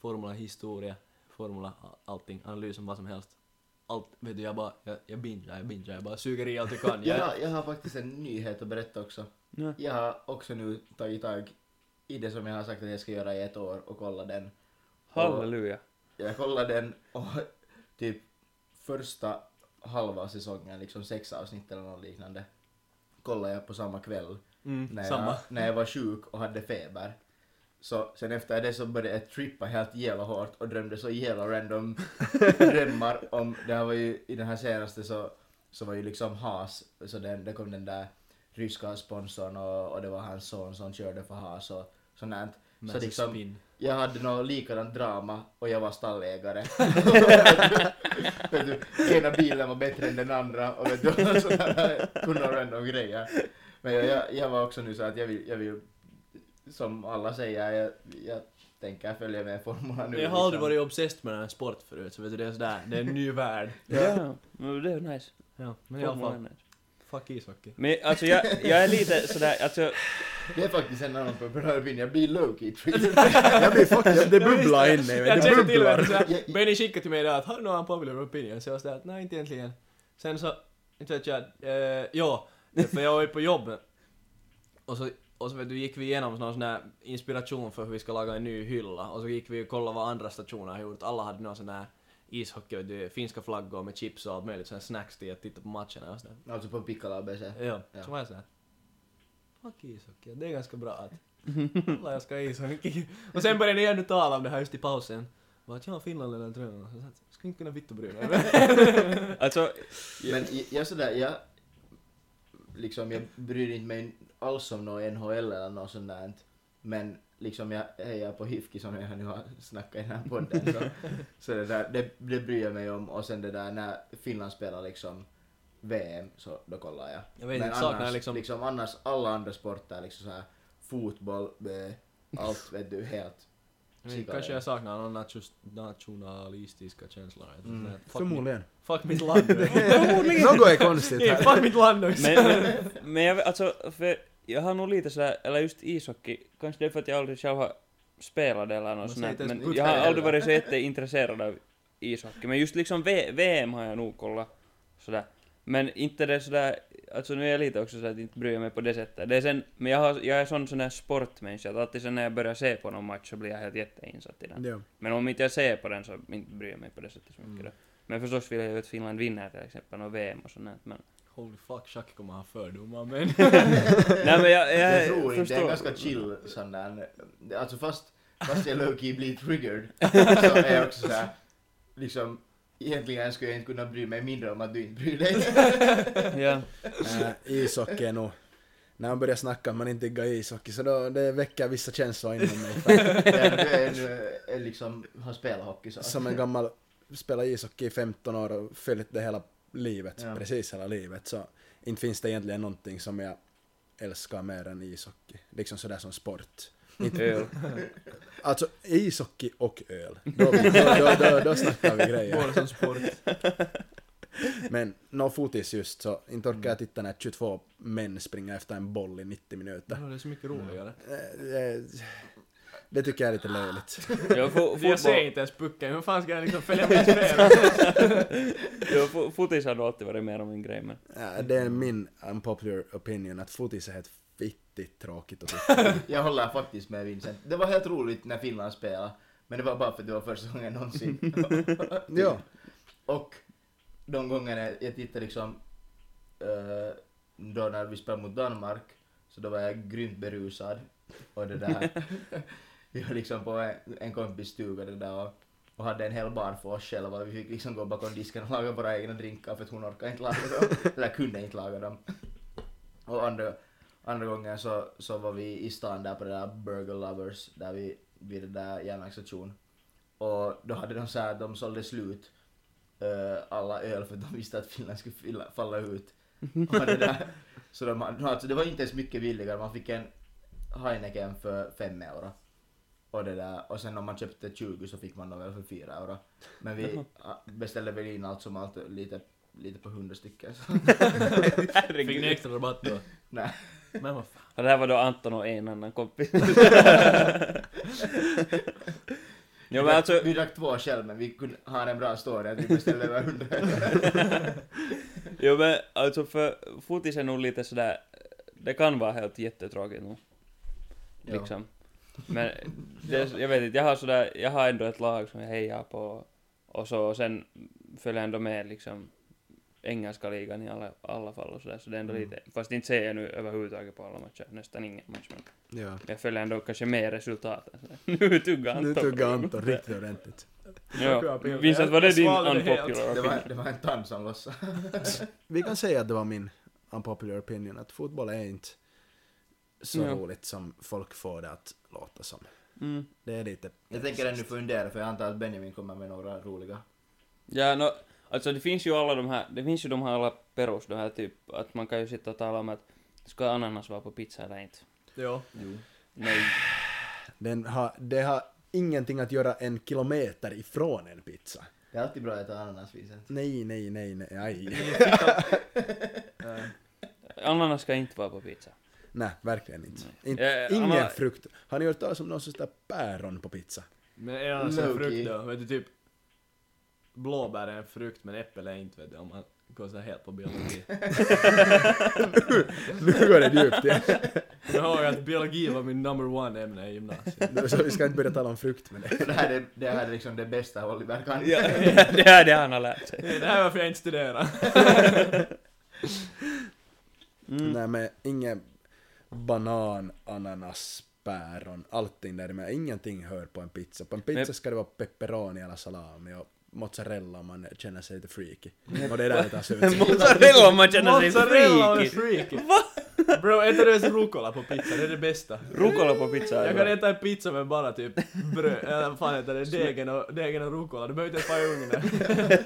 D: formula historia, formula allting, analys om vad som helst. Allt, vet du, jag bara, jag, jag bingear, jag bingear, jag bara suger i allt jag kan.
B: Jag,
D: Jag,
B: har- jag har faktiskt en nyhet att berätta också.
C: Ja.
B: Jag har också nu tagit tag i det som jag har sagt att jag ska göra i ett år och kolla den.
C: Halleluja.
B: Jag kollade den och typ första halva säsongen, liksom sex avsnitt eller något liknande, kollade jag på samma kväll.
D: mm,
B: när,
D: samma.
B: Jag, när jag var sjuk och hade feber. Så sen efter det så började jag trippa helt jävla hårt och drömde så jävla random drömmar om, det här var ju i den här senaste så, så var ju liksom Haas, så den, det kom den där ryska sponsorn och, och det var hans son som körde för Haas och sånt där. Så
D: Massive
B: liksom,
D: spin.
B: jag hade något likadant drama och jag var stallägare. vet du, ena bilen var bättre än den andra och vet du, sådana kunna random grejer. Men jag, jag, jag var också nu så att jag vill, jag vill som alla säger, jag, jag tänker följa med Formula nu.
D: Jag har aldrig varit obsessed med den här sport förut, så vet du, det är sådär, det är en ny värld.
C: Ja, men det är nice.
D: Ja, men i alla
C: Formula är
D: fall,
C: nice.
D: fuck ishockey.
C: Men alltså jag, jag är lite sådär, alltså
B: Det är faktiskt en annan populär vin, jag blir low-key
A: Jag blir faktiskt... Det
D: Jag visste
A: bubblar
D: det.
A: inne i mig.
D: Jag
A: Det
D: kände till
A: bubblar.
D: det. såhär, Benny skickade till mig idag att har du någon popular opinion? Så jag var sådär att nej inte egentligen. Sen så, inte vet jag, eh, ja, för jag var ju på jobbet. Och så, och så vet du, gick vi igenom någon sån här inspiration för hur vi ska laga en ny hylla. Och så gick vi och kollade vad andra stationer har gjort. Alla hade någon sån här ishockey, vet du, finska flaggor med chips och allt möjligt. Sen snacks till att titta på matcherna och sådär.
B: Alltså på Piccolo ABC.
D: Ja,
B: Ja.
D: så var jag såhär. Fuck ishockey, det är ganska bra att... Alla älskar ishockey. Och sen började ni ännu tala om det här just i pausen. Bara att ja, Finland är den tröjan. Så att, Ska inte kunna vittu bry mig.
C: Alltså,
B: Men jag- jag sådär, jag liksom jag bryr inte mig alls om någon NHL eller något sånt där. Men liksom jag hejar på HIFK som jag nu har snackat i den här podden. Så, så det där, det, det bryr jag mig om. Och sen det där när Finland spelar liksom VM så då kollar jag.
D: Jag vet
B: Men
D: inte, saknar
B: annars,
D: liksom-
B: annars alla andra sporter liksom såhär fotboll, eh, allt vet du helt.
D: Men Kanske jag saknar någon natus- nationalistiska känslor. Jag vet inte.
B: Mm.
D: Fuck, mitt,
A: Förmodligen.
D: fuck mitt land.
A: Något är konstigt
D: Nej,
A: här.
D: fuck mitt land också.
C: men, men, men jag, vet- alltså, för jag har nog lite sådär, eller just ishockey, kanske det är för att jag aldrig själv har spelat det eller
D: Man
C: något sånt
D: säger
C: där,
D: inte ens
C: men
D: putta
C: jag har
D: heller.
C: aldrig varit så jätteintresserad av ishockey, men just liksom v, VM har jag nog kollat sådär. Men inte det är sådär, alltså nu är jag lite också sådär att inte bryr jag mig på det sättet. Det är sen, men jag, har, jag är sån sån här sportmänniska att alltid sen när jag börjar se på någon match så blir jag helt jätteinsatt i den.
A: Ja.
C: Men om inte jag ser på den så inte bryr jag mig på det sättet så mycket
B: Mm.
C: då. Men förstås vill jag ju att Finland vinner till exempel, och VM och sånt där, men...
D: Holy fuck, Shaq kommer ha fördomar men...
C: Nej men jag, jag,
A: Eh,
B: Jag tror inte, det är
C: förstår.
B: en ganska chill sån där, alltså fast, fast jag low-key blir triggered, så är jag också såhär, liksom, egentligen skulle jag inte kunna bry mig mindre om att du inte bryr dig.
C: Ja.
A: Äh, ishockey är nog... När man börjar snacka att man inte diggar ishockey så då, det väcker vissa känslor inom mig.
B: Men du är en, eh, liksom, har spelat hockey så.
A: Som en gammal, spelar ishockey i 15 år och följt det hela livet,
B: Ja.
A: precis hela livet. Så inte finns det egentligen någonting som jag älskar mer än ishockey. Liksom sådär som sport. Inte,
C: Öl.
A: alltså ishockey och öl. Då, då, då, då, då snackar vi
D: Både
A: grejer.
D: som sport.
A: Men nå fotis just så, inte orkar jag titta när 22 män springer efter en boll i 90
D: Det
A: minuter.
D: är så mycket roligare.
A: Eh, eh, Det tycker jag är lite löjligt.
C: Ja, fo-
D: Jag ser
C: fotboll,
D: inte ens pucken, hur fan ska jag liksom följa med spelet?
C: ja, fo- fotis har då alltid varit mer om min grej, men...
A: Ja, Det är min unpopular opinion att fotis är helt fittigt tråkigt att titta på.
B: Jag håller faktiskt med Vincent. Det var helt roligt när Finland spelade, men det var bara för att det var första gången någonsin.
A: Ja,
B: Och de gångerna jag tittade liksom, eh, då när vi spelade mot Danmark, så då var jag grymt berusad. Och det där, jag var liksom på en, en kompis stuga det där och, och hade en hel bar för oss själva. Vi fick liksom gå bakom disken och laga våra egna drinkar för att hon orkade inte laga dem, eller kunde inte laga dem. Och andra, andra gången så, så var vi i stan där på det där Burger Lovers, där vi, vid det där järnvägsstationen. Och då hade de så här, de sålde slut eh, alla öl för de visste att Finland skulle fylla, falla ut.
C: Mhm.
B: Och det där. Så de, hade- alltså det var inte ens mycket billigare, man fick en Heineken för 5 euro. Och, det där. och sen om man köpte 20 så fick man dem väl för 4 euro. Men vi ah, beställde väl in allt som allt lite, lite på 100 stycken. Så,
D: Fick ni
C: Herregud.
D: extra rabatt då?
B: nej.
D: Men vad fan.
C: Och det här var då Anton och en annan kompis. ja, men alltså,
B: Vi drack två själv men vi kunde ha en bra story att vi beställde över 100
C: ja, men alltså för fotis är nog lite sådär, det kan vara helt jättetråkigt nog.
B: Ja.
C: Liksom. Men det, jag vet inte, jag har sådär, jag har ändå ett lag som jag hejar på och så och sen följer jag ändå med liksom engelska ligan i alla, alla fall och sådär, så det är ändå lite, fast inte ser jag nu överhuvudtaget på alla matcher, nästan ingen match men
A: ja.
C: jag följer ändå kanske med resultaten. sådär. nu tuggar Anton.
A: Nu tuggar Anton riktigt ordentligt.
C: Ja, Vincent, var det
D: Jag
C: din
D: svalde det helt.
C: unpopular
B: det, var,
C: opinion?
B: det var en tand som lossade.
A: Vi kan säga att det var min unpopular opinion att fotboll är inte så
C: Ja.
A: roligt som folk får det att låta som.
C: Mm.
A: Det är lite...
B: Jag tänker ännu fundera för jag antar att Benjamin kommer med några roliga.
C: Ja, no, alltså det finns ju alla de här, det finns ju de här alla perus, de här typ, att man kan ju sitta och tala om att ska ananas vara på pizza eller inte?
D: Ja.
C: Nej.
A: Den har, det har ingenting att göra en kilometer ifrån en pizza.
B: Det är alltid bra att äta ananas Vincent.
A: Nej, nej, nej, nej, aj.
C: Ananas ska inte vara på pizza.
A: Nej, verkligen inte. inte
C: Eh,
A: ingen
C: Anna-
A: frukt. Har ni hört talas om någon som sätter päron på pizza?
D: Men är annars en
B: Low-key.
D: frukt då? Vet du typ... Blåbär är en frukt men äpple är inte vet du om man går så här helt på biologi.
A: Nu går det djupt igen.
D: Jag har att biologi var min number one ämne i gymnasiet.
A: Så vi ska inte börja tala om frukt med det.
B: För det här är, det här är liksom det bästa Oliver kan.
C: Ja, det här är det han har lärt sig.
D: Det här är varför jag inte studerar.
C: Mm.
A: Nej men ingen banan, ananas, päron, allting däremellan. Ingenting hör på en pizza. På en pizza
C: Men-
A: ska det vara pepperoni eller salami och mozzarella om man känner sig lite freaky. Och det är där det tar slut.
C: Mozzarella om man känner sig
D: Mozzarella är
C: freaky!
D: freaky! Bro, äter du ens rucola på pizza? Det är det bästa.
C: Rucola på pizza är
D: Jag kan
C: bra.
D: äta en pizza med bara typ bröd, eller vad fan heter det, degen och, degen och rucola. Du behöver inte ens vara i ugnen.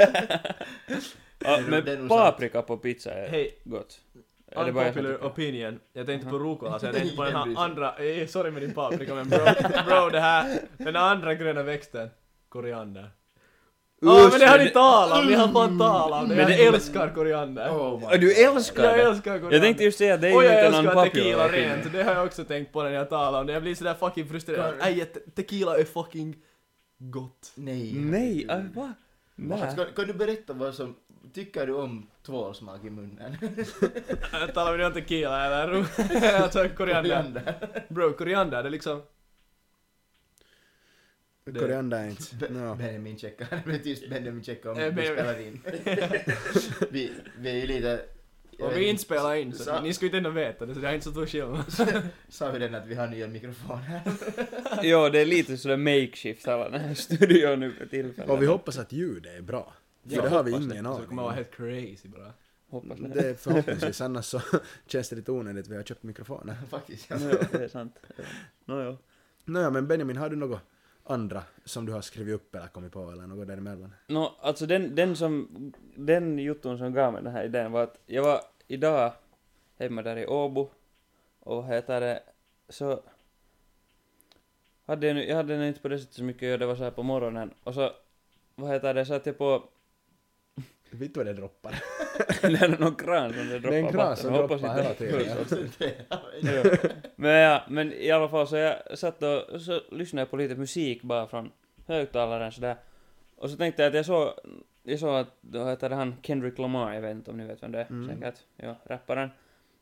B: Det
C: Ja,
B: är nog- det är
C: Men
B: nog
C: paprika på pizza är
D: Hej,
C: gott. Är det bara jag som
D: unpopular
C: tycker?
D: opinion. Jag tänkte på rucola, så jag tänkte på den
B: Ingen
D: här
B: bryr sig.
D: andra, eh, sorry med din paprika men bro, bro det här, den andra gröna växten, koriander. Ja
C: Usch,
D: men det har ni
C: men-
D: talat om, ni har fan talat om det.
C: Men
D: Jag
C: det-
D: älskar koriander.
B: Oh my
C: Och du älskar
D: Jag
C: det?
D: älskar koriander.
C: Jag tänkte ju säga att det är
D: Och
C: ju
D: jag
C: inte någon
D: älskar
C: popular
D: tequila
C: opinion.
D: rent, det har jag också tänkt på när jag talar om det. Jag blir sådär fucking frustrerad. Nej, te- tequila är fucking gott.
B: Nej.
C: Nej, äh, va?
B: Alltså,
C: Nej.
B: Kan, kan du berätta vad som Tycker du om tvålsmak i munnen?
D: Talar vi nu om tequila eller? alltså koriander. Bro, koriander det är liksom... Det-
A: Koriander är inte... No.
B: Benjamin checkar, det blir tyst Benjamin checkar om
D: Eh,
B: vi
D: Benjamin.
B: spelar in. vi, vi är ju lite... jag
D: Om
B: vet
D: vi inte
B: inte,
D: spelar in så,
B: sa-
D: ni skulle inte ändå veta det så det är inte så stor skillnad.
B: Sa vi den att vi har nya mikrofoner?
C: Jo, det är lite sådär makeshift av den här studion nu för tillfället.
A: Och vi hoppas att ljudet är bra. För det har vi ingen
D: Så det
A: aning
D: kommer vara
A: om.
D: helt crazy bara.
C: Hoppas det.
A: Mm, Det är förhoppningsvis, annars så känns det lite onödigt. Vi har köpt mikrofoner.
B: Faktiskt.
C: Nåjo, det är sant. Nåjo.
A: Nåja, men Benjamin, har du något andra som du har skrivit upp eller kommit på eller något däremellan?
C: Nå, alltså den, den som, den jotton som gav mig den här idén var att jag var idag hemma där i Åbo och vad heter det, så hade jag, nu, jag hade nu inte på det sättet så mycket att göra, det var så här på morgonen och så, vad heter det, satt jag på,
A: Vet du vad det droppar?
C: det är någon kran som det droppar
A: Det är en kran som
C: vatten.
A: droppar
C: Jag hoppas
A: hela
C: inte-
A: tiden, ja.
C: Ja. men, ja, men i alla fall så jag satt och så lyssnade jag på lite musik bara från högtalaren sådär. Och så tänkte jag att jag såg, jag såg att, då heter han Kendrick Lamar, jag vet inte om ni vet vem det är
A: Mm.
C: säkert. Ja, rapparen.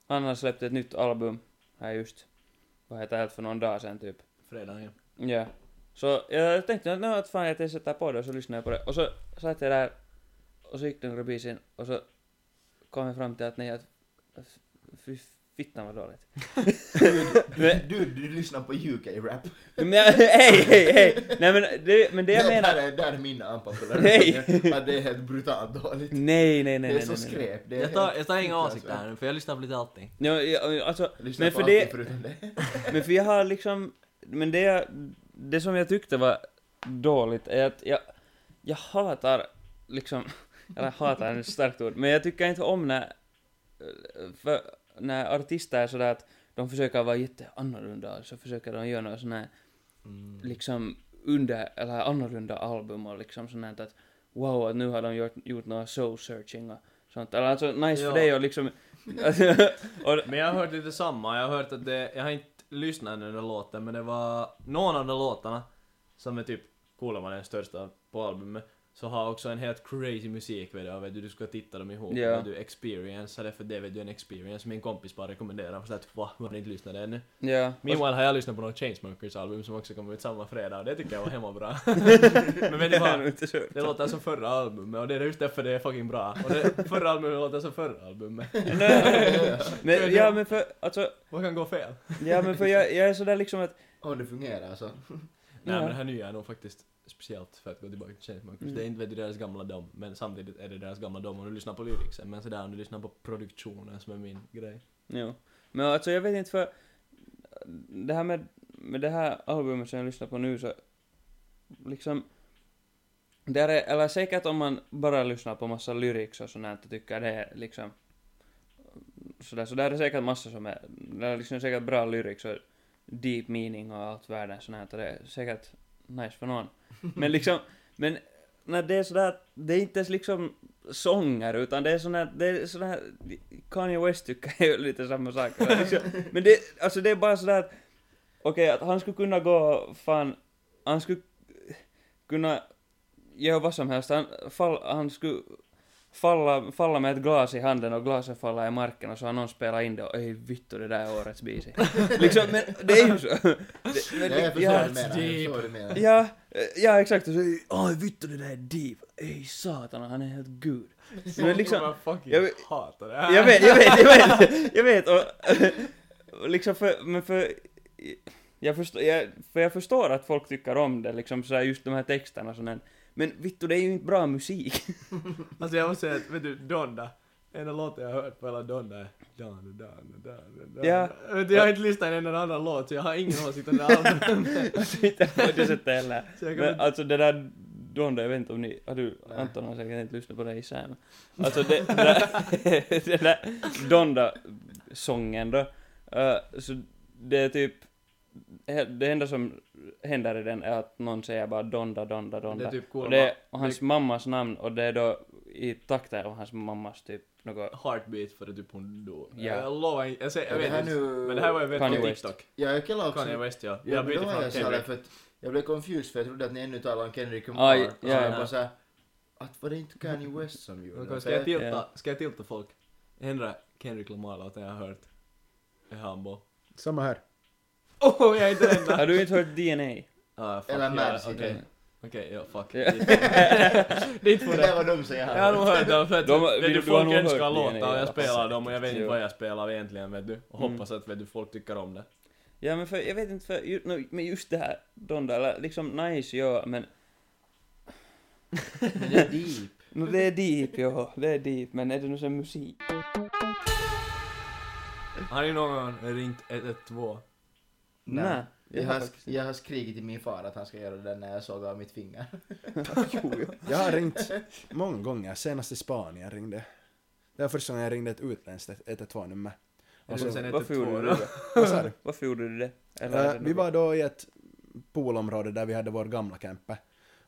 C: Han har släppt ett nytt album här just, vad heter det, för någon dag sedan typ.
D: Fredagen.
C: Ja. Så jag tänkte att, nå, att fan jag testar på det och så lyssnade jag på det. Och så satt jag där och så gick den rubisen och så kom jag fram till att nej, att att fy fittan vad dåligt. men,
B: Du, du lyssnar på UK-rap.
C: men jag- hej, hej, hej! Nej men det, men det jag
B: Där
C: menar...
B: är, där är mina unpopulära
C: Nej.
B: åsikter, att det är helt brutalt dåligt.
C: Nej, nej, nej, nej.
B: det är så
C: nej, nej.
B: skräp. Det är
D: Jag tar,
B: helt
D: jag tar inga
B: fruktansvärt.
D: åsikter här nu för jag lyssnar på lite allting.
C: Ja, ja, alltså,
B: Jag lyssnar
C: Men
B: på
C: för
B: allting
C: det-
B: förutom det.
C: men för jag har liksom... Men det, jag- det som jag tyckte var dåligt är att jag, jag hatar liksom... Eller hatar är ett starkt ord, men jag tycker inte om när... För när artister är sådär att de försöker vara jätteannorlunda, så försöker de göra några sådana här
D: Mm.
C: liksom under, eller annorlunda album och liksom sånt här att wow, att nu har de gjort, gjort några soul searching och sånt. Eller alltså nice
D: Ja.
C: för dig och liksom... och,
D: Men jag har hört lite samma, jag har hört att det, jag har inte lyssnat ännu den låten men det var någon av de låtarna som är typ, coola var den största på albumet, så har också en helt crazy musikvideo, vet du, du ska titta dem ihop,
C: Ja.
D: vet du, experience, eller för det vet du en experience, min kompis bara rekommenderar, för att typ, va, har ni inte lyssnat ännu?
C: ja.
D: Meanwhile har jag lyssnat på något Chainsmokers album som också kom ut samma fredag och det tycker jag var hemma bra. men vet du
C: Det är
D: vad?
C: nog inte så.
D: Det låter som förra albumet och det är just därför det är fucking bra. Och det, förra albumet låter som förra albumet.
C: Nej. men, ja men för, alltså,
D: Vad kan gå fel?
C: ja men för jag, jag är sådär liksom att,
B: Om det fungerar alltså. så.
D: Nej
C: Ja.
D: men det här nya är nog faktiskt speciellt för att gå tillbaka till Chainsmokers.
C: Mm.
D: Det är inte vet du, deras gamla dom, men samtidigt är det deras gamla dom om du lyssnar på lyricsen. Men sådär om du lyssnar på produktionen som är min grej.
C: jo. Men alltså jag vet inte för, det här med, med det här albumet som jag lyssnar på nu så, liksom, där är, eller säkert om man bara lyssnar på massa lyrics och sånt här och tycker det är liksom, sådär, så där är säkert massa som är, där är liksom säkert bra lyrics och deep meaning och allt världen sånt här och det är säkert nice för någon. Men liksom, men när det är sådär, att det är inte ens liksom sånger utan det är sådär, det är sådär, Kanye West tycker ju lite samma sak. Eller Liksom. Men det, alltså det är bara sådär att, okej att han skulle kunna gå fan, han skulle kunna göra vad som helst, han, fall, han skulle falla, falla med ett glas i handen och glaset falla i marken och så har någon spelat in det och ej vittu det där är årets bis. liksom, men det är ju så. Det,
B: Ja,
C: men,
B: jag förstår
C: ja,
B: vad du menar. Jag förstår vad du menar.
C: Ja, eh, ja exakt. Och så, oj vittu det där är deep. Ej satan, han är helt gud. Men liksom,
D: jag fucking
C: jag vet-
D: hatar det
C: jag vet, jag vet, jag vet, jag vet och, och liksom för, men för, jag förstår, jag, för jag förstår att folk tycker om det liksom så här, just de här texterna och sånt här. Men vittu det är ju inte bra musik.
D: Alltså jag måste säga att, vet du, Donda. En av låtarna jag har hört på hela Donda är Donda, Donda, Donda, Donda.
C: Ja.
D: Vet du, jag har inte lyssnat en enda annan låt så jag har ingen åsikt om det här albumet.
C: Så inte på det sättet heller.
D: Så jag kan
C: Men
D: inte-
C: alltså det där Donda, jag vet inte om ni, har du,
B: Nej.
C: Anton har säkert inte lyssnat på det i men Alltså det, det där, det där Donda-sången då, eh, så det är typ, det enda som händer i den är att någon säger bara Donda, Donda,
D: Det är
C: Donda.
D: typ
C: Och
D: cool.
C: det är och hans mammas namn och det är då i takten av hans mammas typ något,
D: Heartbeat för att typ hon dog.
C: Ja.
D: Jag lovar inte, jag, säger, jag
B: Ja, det här
D: vet inte.
B: nu-
D: Men det här var jag vet
C: Kanye
D: på
C: West.
D: TikTok.
B: Ja, jag kallar också...
D: Kanye West ja.
B: Ja, men
D: Jag
B: då
D: byter
B: har
D: från
B: jag såhär
D: Kendrick.
B: för att jag blev confused för jag trodde att ni ännu talade om Kendrick Lamar.
C: Aj,
B: och så
C: ja,
B: var jag
D: ja.
B: bara såhär, Att var det inte Kanye West som gjorde
D: Okej,
B: det?
D: Ska jag tilta,
C: Ja.
D: ska jag tilta folk? Ändra Kendrick Lamar-låten jag har hört. Är Humble.
A: Samma här.
D: Åh, oh, jag är inte den
C: Har
D: där!
C: du inte hört DNA?
D: Ah, fuck.
B: Eller
D: ja,
B: Mad
D: Okej,
B: City.
D: Okej, ja, fuck.
C: Ja.
D: Det är inte
B: Det
D: för
B: där
D: det.
B: var dumt så jag
D: Jag har nog hört dem för att
C: De-
D: vet
C: du
D: du,
C: har nog
D: folk älskar
C: hört
D: låtar och
C: DNA,
D: jag spelar
C: säkert.
D: dem och jag vet inte
C: Jo.
D: vad jag spelar egentligen vet du. Och
C: Mm.
D: hoppas att vet du, folk tycker om det.
C: Ja, men för, jag vet inte, för, ju, no, men just det här, de där, eller liksom nice, ja, men...
B: Men det är deep.
C: No, det är deep, ja, det är deep, men är det nu sen musik?
D: Har ni någon gång ringt 112?
B: Nej.
C: jag
B: Jag
C: har
B: har,
C: faktiskt
B: jag har skrikit till min far att han ska göra det där när jag såg av mitt finger.
C: Jo, jo.
A: Jag har ringt många gånger, senast i Spanien ringde. Det var första gången jag ringde ett utländskt 112-nummer.
D: Är
A: Och så-
D: det Alltså, sen
C: Alltså, varför gjorde
D: 112
C: du
D: då?
C: det?
A: Vad sa du?
C: Varför gjorde du det?
A: Eh,
C: är det
A: vi
C: något-
A: var då i ett poolområde där vi hade vår gamla camper.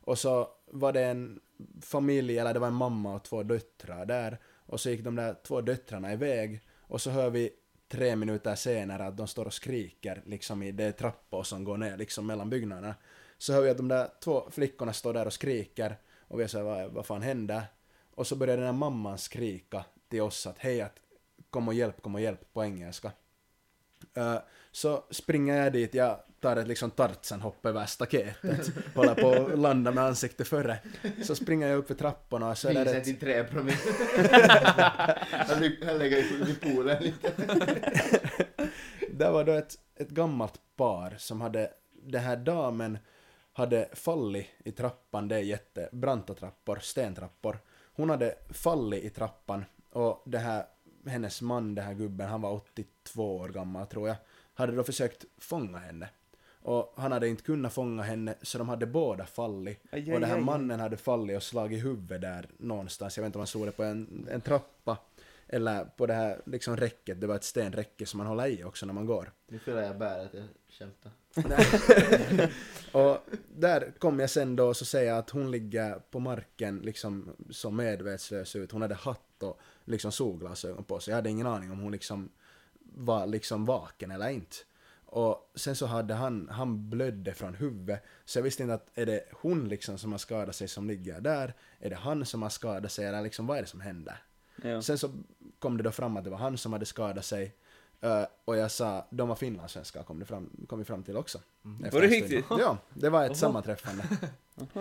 A: Och så var det en familj, eller det var en mamma och två döttrar där. Och så gick de där två döttrarna iväg. Och så hör vi tre minuter senare att de står och skriker liksom i det trappor som går ner liksom mellan byggnaderna. Så hör vi att de där två flickorna står där och skriker. Och vi säger vad, vad fan händer? Och så börjar den där mamman skrika till oss att hej att kom och hjälp, kom och hjälp på engelska. Eh, så springer jag dit, jag tar ett liksom Tarzan-hopp över staketet, håller på att landa med ansiktet före. Så springer jag upp för trapporna och så är det
B: Priset
A: ett...
B: till tre promille. han, ly- han lägger i i poolen lite.
A: Där var då ett, ett gammalt par som hade, den här damen hade fallit i trappan, det är jättebranta trappor, stentrappor. Hon hade fallit i trappan och det här, hennes man, den här gubben, han var 82 år gammal tror jag, hade då försökt fånga henne. Och han hade inte kunnat fånga henne så de hade båda fallit.
C: Aj, aj,
A: och den här
C: aj, aj.
A: mannen hade fallit och slagit huvudet där någonstans, jag vet inte om han såg det på en, en trappa eller på det här liksom räcket, det var ett stenräcke som man håller i också när man går.
B: Nu fyller jag bäret, jag skämtar.
A: och där kom jag sen då och så säger jag att hon ligger på marken liksom som medvetslös ut. Hon hade hatt och liksom solglasögon på sig. Jag hade ingen aning om hon liksom var liksom vaken eller inte. Och sen så hade han, han blödde från huvudet. Så jag visste inte att är det hon liksom som har skadat sig som ligger där? Är det han som har skadat sig eller liksom vad är det som händer?
C: Ja.
A: Sen så kom det då fram att det var han som hade skadat sig. Eh, och jag sa, de var finlandssvenskar kom, det fram, kom vi fram till också. Eh, Efter
C: Var det
A: en stund.
C: riktigt?
A: Ja, det var ett sammanträffande.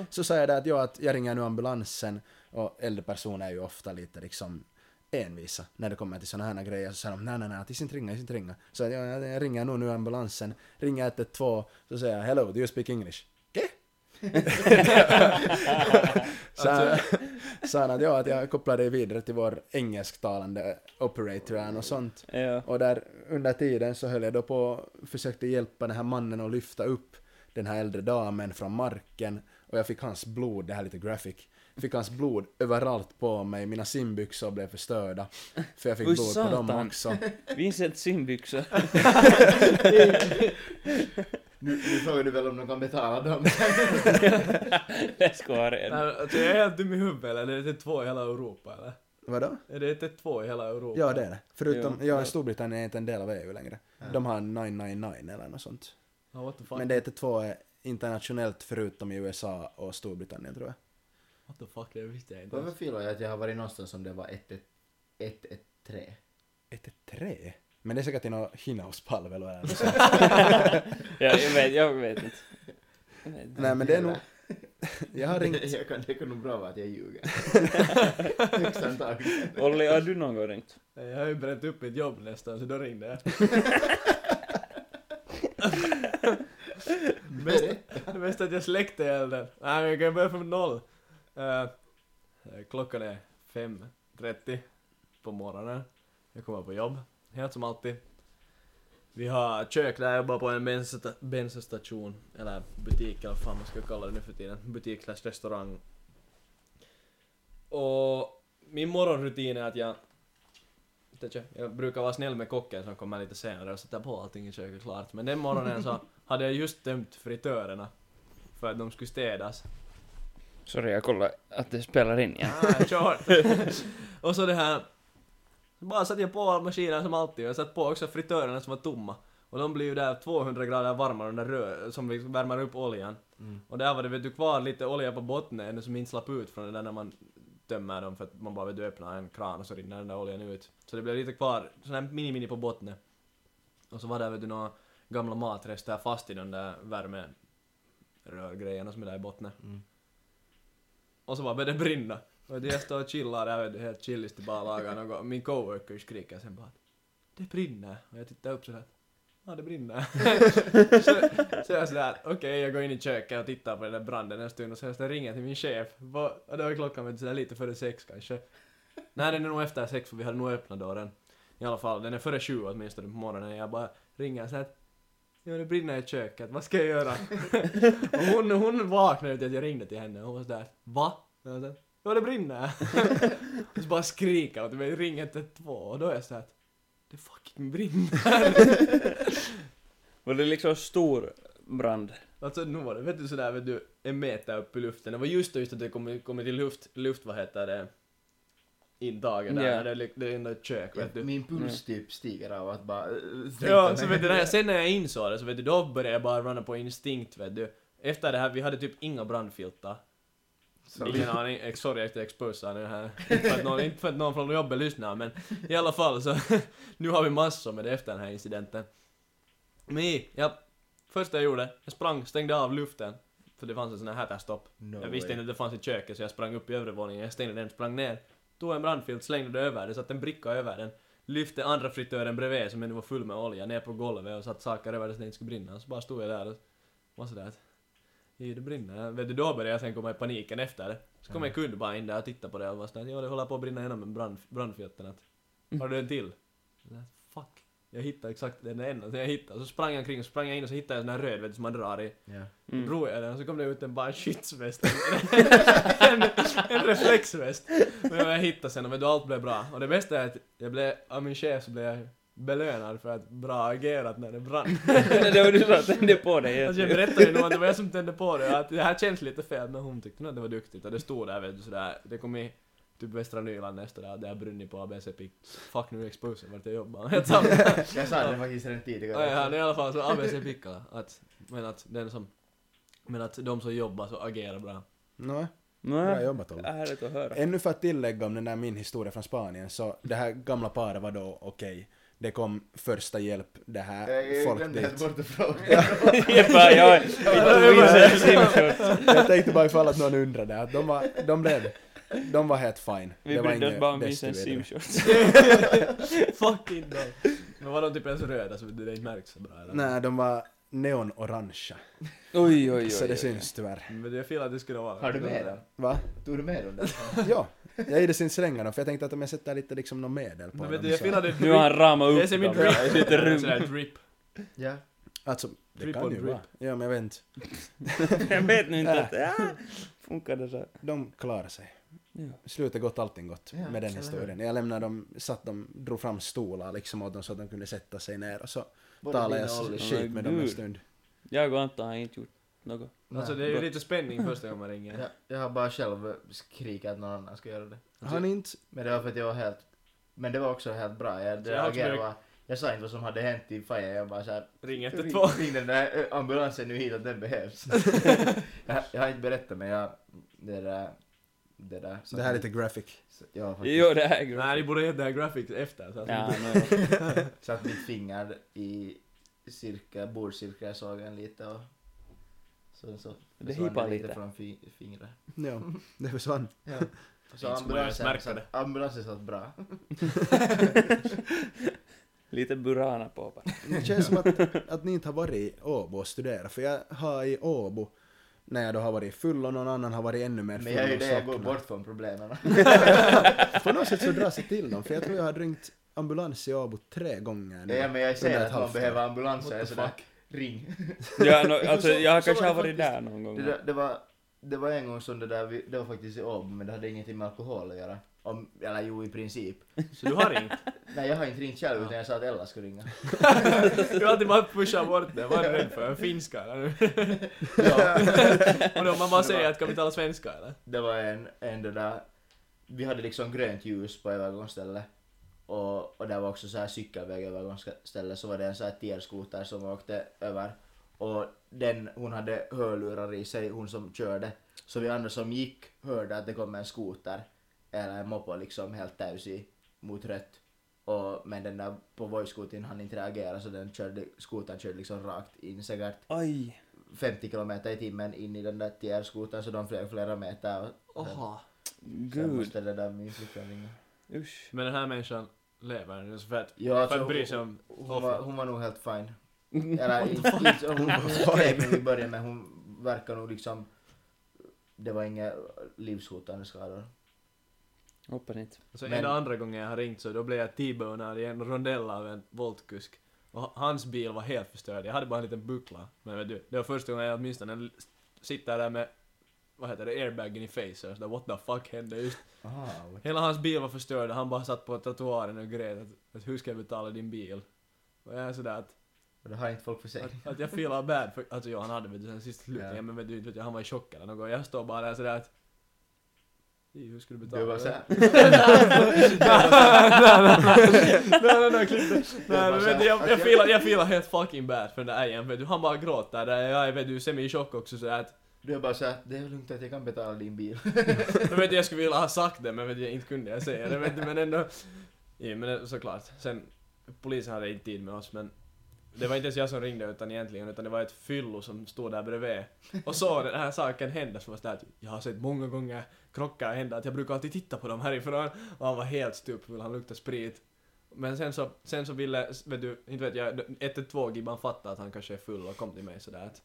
A: så sa jag det att, ja, att jag ringer nu ambulansen och äldre personer är ju ofta lite liksom envisa när det kommer till sådana här grejer. Så säger de nej, nej, nej, att inte ringa, inte ringa. Så jag, jag, jag ringer nog nu ambulansen, ringer 112, så säger jag hello, do you speak English? "Okay." så, sa han att, ja, att jag kopplar dig vidare till vår engelsktalande operator och sånt.
C: Ja.
A: Och där under tiden så höll jag då på och försökte hjälpa den här mannen att lyfta upp den här äldre damen från marken och jag fick hans blod, det här är lite graphic, fick hans blod överallt på mig, mina simbyxor blev förstörda för jag fick
C: Oj,
A: blod på dem
C: satan.
A: också.
C: Vincent simbyxa.
B: Nu, nu frågar du väl om de kan betala dem?
C: Det ska vara
D: Nej,
C: en.
D: Alltså, jag är helt dum i huvudet eller? Är det 112 i hela Europa eller?
A: Vadå?
D: Är det 112 i hela Europa?
A: Ja det är det. Förutom,
C: Jo,
A: ja,
C: ja.
A: Storbritannien är inte en del av EU längre. De har 999 eller något sånt.
D: Ja, what the fuck?
A: Men det är inte två eh, internationellt förutom i USA och Storbritannien tror jag.
D: What the fuck, det visste jag inte.
B: Varför
D: ens.
B: filar jag att jag har varit någonstans som det var 113?
A: 113? Men det är säkert i någon hinauspalvelu eller något sånt.
C: Ja, jag vet, jag vet inte. Jag vet inte.
A: Nej men det är nog... Jag har ringt...
B: Jag kan, det kan nog bra vara att jag ljuger. Högst antagligen.
C: Olli, har du någon gång ringt?
D: Nej, Jag har ju bränt upp mitt jobb nästan, så då ringde jag. Det bästa är att jag släckte elden. Nej, men jag kan börja från noll. Eh, eh, klockan är 5.30 på morgonen. Jag kommer på jobb, helt som alltid. Vi har kök där jag jobbar på en bensinsta- bensinstation, eller butik eller vad fan man ska kalla det nu för tiden. Butik slash restaurang. Och min morgonrutin är att jag Vet du, jag brukar vara snäll med kocken som kommer lite senare och sätter på allting i köket klart. Men den morgonen så hade jag just tömt fritörerna för att de skulle städas.
C: Sorry, jag kollar att det spelar in igen.
D: Ah, short. och så det här. Så bara satte jag på all maskinen som alltid jag satte på också fritörerna som var tomma. Och de blir ju där 200 grader varmare under rör, som liksom värmer upp oljan.
B: Mm.
D: Och där var det vet du kvar lite olja på botten ännu som inte slapp ut från det där när man tömmer dem för att man bara vet du öppnar en kran och så rinner den där oljan ut. Så det blev lite kvar, sån här mini-mini på bottnet. Och så var det vet du några gamla matrester fast i den där värmerörgrejerna som är där i bottnet.
B: Mm.
D: Och så bara började det brinna. Och jag står och chillar där vet du, helt chillist bara lagar något. Min coworker skriker sen bara att det brinner. Och jag tittar upp sådär att ja det brinner. så, så jag sådär okej jag går in i köket och tittar på den där branden en stund och sen så ringer jag till min chef. Vad- Och då var klockan vet du, sådär lite före sex kanske. Nej den är nog efter sex för vi hade nog öppnat dörren. I alla fall, den är före sju åtminstone på morgonen. Jag bara ringer såhär att ja det brinner i köket, vad ska jag göra? och hon, hon vaknade till att jag ringde till henne och hon var sådär va? Och jag sådär, Ja det brinner! och så bara skriker åt mig, ring 112 och då är jag såhär att det fucking brinner!
C: Var det liksom stor brand?
D: alltså nu var det, vet du sådär vet du, en meter upp i luften. Det var just då just att det kom, kom till luft, luft vad heter det, intaget där,
C: Ja.
D: när det, är- det är ändå ett kök vet du. Mm.
B: Min puls typ stiger av att bara... eh,
D: Ja,
B: tänka
D: så
B: mig.
D: vet du, när jag, sen när jag insåg det så vet du, då började jag bara runna på instinkt vet du. Efter det här, vi hade typ inga brandfiltar.
B: Så
D: Ingen aning, ex- sorry att jag exposar nu här. Inte för, att någon, inte för att någon från jobbet lyssnar men i alla fall så nu har vi massor med det efter den här incidenten. Men ja, första jag gjorde, jag sprang, stängde av luften. För det fanns en sån här hätterstopp.
B: No
D: jag visste
B: way.
D: inte att det fanns i köket så jag sprang upp i övre våningen, jag stängde den, sprang ner. Tog en brandfilt, slängde det över den, satte en bricka över den. Lyfte andra fritören bredvid som ändå var full med olja ner på golvet och satte saker över det så det inte skulle brinna. Så bara stod jag där och var sådär att "Ej, det brinner. Vet du, då började jag sen komma i paniken efter det. Så kom en kund bara in där och tittade på det och var sådär att ja det håller på att brinna genom en brand, brandfilten att har du en till? Jag sådär, Fuck. Jag hittade exakt den enda som jag hittade. Så sprang jag omkring, så sprang jag in och så hittade jag en sån här röd vet du, som man drar i.
B: Ja.
C: Mm.
D: Drog jag den och så kom det ut en bara en skyddsväst. en, en reflexväst. Men jag hittade sen och vet du, allt blev bra. Och det bästa är att jag blev, av min chef så blev jag belönad för att bra agerat när det brann.
C: det var du som tände på dig helt
D: Alltså jag berättade ju nog att det var jag som tände på det och att det här känns lite fel men hon tyckte nog att det var duktigt och det stod där vet du sådär, det kom i typ Västra Nyland nästa dag, det har brunnit på ABC Pick. Fuck nu exposen vart jag jobbar. Jag sa
B: Jag sa det faktiskt redan tidigare.
D: Ja, ja, det är i alla fall så ABC Pickala. Att, men att den som, men att de som jobbar så agerar bra.
A: Nå, bra
C: Nej,
A: jobbat Olle.
C: härligt att höra.
A: Ännu för att tillägga om den där min historia från Spanien, så det här gamla paret var då okej. Det kom första hjälp, det här,
B: Jag- Jag
A: folk
B: glömde helt
A: dit.
B: bort att fråga.
C: Jag bara, jag tog in sig simshorts.
A: Jag tänkte bara ifall att någon undrade, att de var, de blev, de var helt fine.
C: Vi
A: det var
C: brydde oss
A: inget
C: bara om
A: desto
C: Vincents
A: vidare.
C: simshorts.
D: Fucking dem. Men var de typ ens röda så det inte märks så bra eller?
A: Nej, de var neonorangea.
C: Oj, oj, oj.
A: Så det syns tyvärr.
D: Men jag filar att det skulle vara.
B: Har du med den?
A: Va?
B: Tog du med den där?
A: Ja, jag gillade sin slänga dem för jag tänkte att om jag sätter lite liksom någon medel på
D: Men vet
A: dem
D: du, jag
A: så-
D: filar det
C: Nu har han ramat upp
D: Jag ser min
C: dem. Jag
D: drip.
C: sitter i
D: Sådär
C: rum.
D: drip.
B: Ja.
A: Alltså, det
D: Drip
A: kan
D: on
A: ju
D: drip.
A: vara. Ja, men jag vet inte.
C: Jag vet nu inte att... Ah, funkar det så? här?
A: De klarar sig.
C: Ja.
A: Slutet gott, allting gott
B: Ja,
A: med den
B: eller
A: historien. Jag lämnade dem, satt dem, drog fram stolar liksom åt dem så att de kunde sätta sig ner och så
B: Både
A: talade
B: din
A: jag
B: och Ollis.
A: så- skit
C: Men
A: med dem en
C: gud.
A: stund.
C: Jag och Anton har inte gjort något.
D: Alltså det är ju lite spänning första gången man ringer.
B: Jag, jag har bara själv skrikit att någon annan ska göra det.
A: Har ni inte...
B: Men det var för att jag var helt... Men det var också helt bra. Jag,
D: Så jag har
B: jag
D: också
B: agerade
D: blivit-
B: bara... Jag sa inte vad som hade hänt i Fajan. Jag bara såhär...
D: Ring
B: Ring
D: 112.
B: ring den där eh, ambulansen nu hit att den behövs. jag, jag har inte berättat men jag... Det där... Det där.
A: Det här är lite graphic.
B: Så- Ja, faktiskt.
C: Jo, det här är
D: Nej,
C: grovt.
D: ni borde heta det här graphics efter. Så att
C: Ja, no.
B: Satt mitt finger i cirka, bordcirkelsågen lite och... Så, så
C: Det
B: försvann
C: hippar
B: lite.
C: lite.
B: från fi, fingret.
A: Ja, det försvann.
B: Ja. Så
D: Inte som jag ens
B: ambulansen
D: märker
B: satt, ambulansen satt bra.
C: Lite burana på bara.
A: Det känns som att, att ni inte har varit i Åbo och studerat, för jag har i Åbo, när jag då har varit full och någon annan har varit ännu mer full
B: Men jag är ju
A: och
B: det, jag går
A: slocknat.
B: bort från problemen.
A: På något sätt så dras jag till dem, för jag tror jag har ringt ambulans i Abo tre gånger nu.
B: Ja, men jag
A: Under
B: ser
A: ett
B: att man
A: halvt år.
B: behöver ambulanser,
D: What
B: jag
D: the
B: är sådär, ring.
C: Ja, no, alltså,
B: Så-
C: jag har
B: så
C: kanske
B: var
C: har
B: det
C: varit där någon gång.
B: Det, där- det, var, det var en gång som det där, vi, det var faktiskt i Åbo, men det hade ingenting med alkohol att göra. Om, eller jo, i princip.
D: Så du har ringt?
B: Nej, jag har inte ringt själv, utan jag sa att Ella skulle ringa.
D: Du har alltid bara pushat bort det. Vad är du rädd för? En finska eller? Och då man bara säger att kan vi tala svenska eller?
B: Det var en, en det där, vi hade liksom grönt ljus på övergångsstället. Och, och där var också så här cykelväg övergångsställe, så var det en så här tierskoter som åkte över. Och den, hon hade hörlurar i sig, hon som körde. Så vi andra som gick hörde att det kom en skoter eller en mopo liksom helt täysi mot rött. Och, men den där på Voi-skotin han inte reagera så den körde, skotan körde liksom rakt in säkert
C: Aj.
B: 50 kilometer i timmen in i den där TR-skotan så de flög flera meter. och-
D: Oha.
B: Sen
C: Gud.
B: måste det där min flickvän ringa.
C: Usch.
D: Men den här människan lever nu så för att,
B: Ja, alltså,
D: för att bry sig om
B: Hon var, hon var nog helt fine. Eller inte, inte hon skrek nog i början men hon verkar nog liksom... Det var inga livshotande skador.
C: Hoppas inte.
D: Så
B: Men-
D: enda andra gången jag har ringt så då blev jag t-bonad i en rondell av en voltkusk. Och h- hans bil var helt förstörd. Jag hade bara en liten buckla. Men vet du, det var första gången jag åtminstone l- sitter där med vad heter det, airbagen i face och sådär what the fuck hände just?
B: Aha,
D: Hela hans bil var förstörd och han bara satt på tatuaren och grät att, att hur ska jag betala din bil? Och jag är sådär att,
B: och det har inte folk försäkring.
D: att, att jag feelar bad för, alltså ja han hade vet du sen sist slut,
B: Ja.
D: ja. men vet du, vet du, han var i chock eller något. Jag står bara där sådär att, "Ey, hur ska du betala?
B: Du var såhär...
D: Nej, nej, nej, klipp det.
B: bara
D: Nej, men vet
B: såhär,
D: du, jag, jag,
B: okej.
D: filar, jag filar helt fucking bad för den där ägaren, vet du. Han bara gråter där, jag är vet du, semi i chock också så att,
B: Du är bara såhär, det är lugnt att jag kan betala din bil.
D: jag vet du, jag skulle vilja ha sagt det, men vet du, inte kunde jag säga det, vet du, men ändå. Ja, men såklart. Sen, polisen hade inte tid med oss, men det var inte ens jag som ringde utan egentligen, utan det var ett fyllo som stod där bredvid och såg den här saken hända som var sådär att jag har sett många gånger krockar hända, att jag brukar alltid titta på dem härifrån och han var helt stupfull, han luktade sprit. Men sen så, sen så ville, vet du, inte vet jag, 112-gibban fattade att han kanske är full och kom till mig sådär att,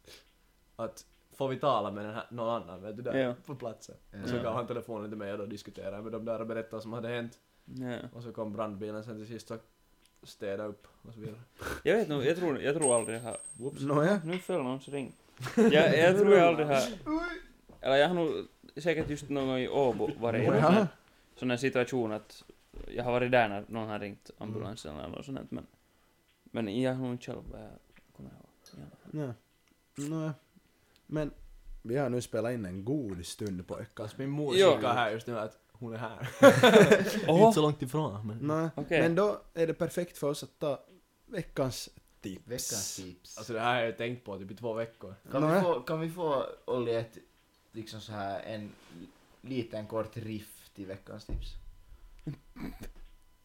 D: att får vi tala med den här, någon annan, vet du, där
C: Ja.
D: på platsen.
B: Ja.
D: Och så gav han telefonen till mig och då diskuterade jag med dem där och berättade vad som hade hänt.
C: Ja.
D: Och så kom brandbilen sen till sist och städade upp och så vidare.
C: Jag vet nog, jag tror, jag tror aldrig jag har...
D: Whoops.
A: Nåja.
C: Nu föll någons ring. Jag, jag tror jag aldrig har... Eller jag har nog säkert just någon gång i Åbo varit i någon sån här-
A: Nåja.
C: sån här situation att jag har varit där när någon har ringt ambulansen
D: Mm.
C: eller något sånt här, men... Men jag har nog inte själv vad jag kommer ihåg. Ja.
A: Nä. Nä. Men vi har nu spelat in en god stund pojkar.
D: Kanske min mor
C: Jo.
D: skickar här just nu att hon är här.
C: Oho.
D: så långt ifrån men...
A: Nä.
C: Okej.
A: Men då är det perfekt för oss att ta veckans tips.
B: Veckans tips.
D: Alltså det här har jag ju tänkt på typ i två veckor.
B: Kan, vi
A: Nåja.
B: få, kan vi få, Olli, ett, liksom så här, en liten kort riff till veckans tips?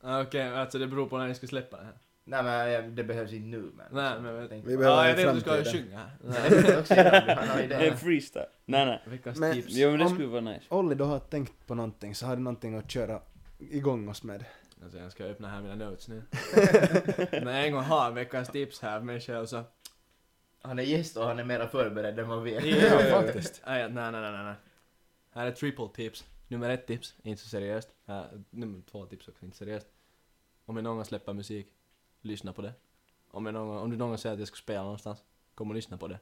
D: Ah, Okej, alltså det beror på när ni ska släppa den här.
B: Nej men eh, det behövs inte nu men...
D: Nej, men vi-
B: tänkte-
A: Vi behöver
D: Ja,
A: en
D: Ah, jag tänkte att du ska
A: framtida.
D: sjunga här.
B: Nej, det är också innan du har några
C: Det är
B: idéer.
C: freestyle. Nej, nej.
D: Veckans
A: Men-
D: tips.
C: Jo, men det
A: Om-
C: skulle vara nice.
A: Olli, du har tänkt på någonting, så har du någonting att köra igång oss med?
D: Alltså jag ska öppna här mina notes nu. När jag en gång har veckans tips här för mig själv så...
B: Han är gäst och han är mera förberedd än vad vi är.
A: Ja, faktiskt.
D: Ah, ja, nej, nej, nej, nej, nej. Här är triple tips. Nummer ett tips, inte så seriöst. Här, nummer två tips också, inte seriöst. Om jag någon gång släpper musik, lyssna på det. Om, jag någon, gång- om du någon gång säger att jag ska spela någonstans, kom och lyssna på det.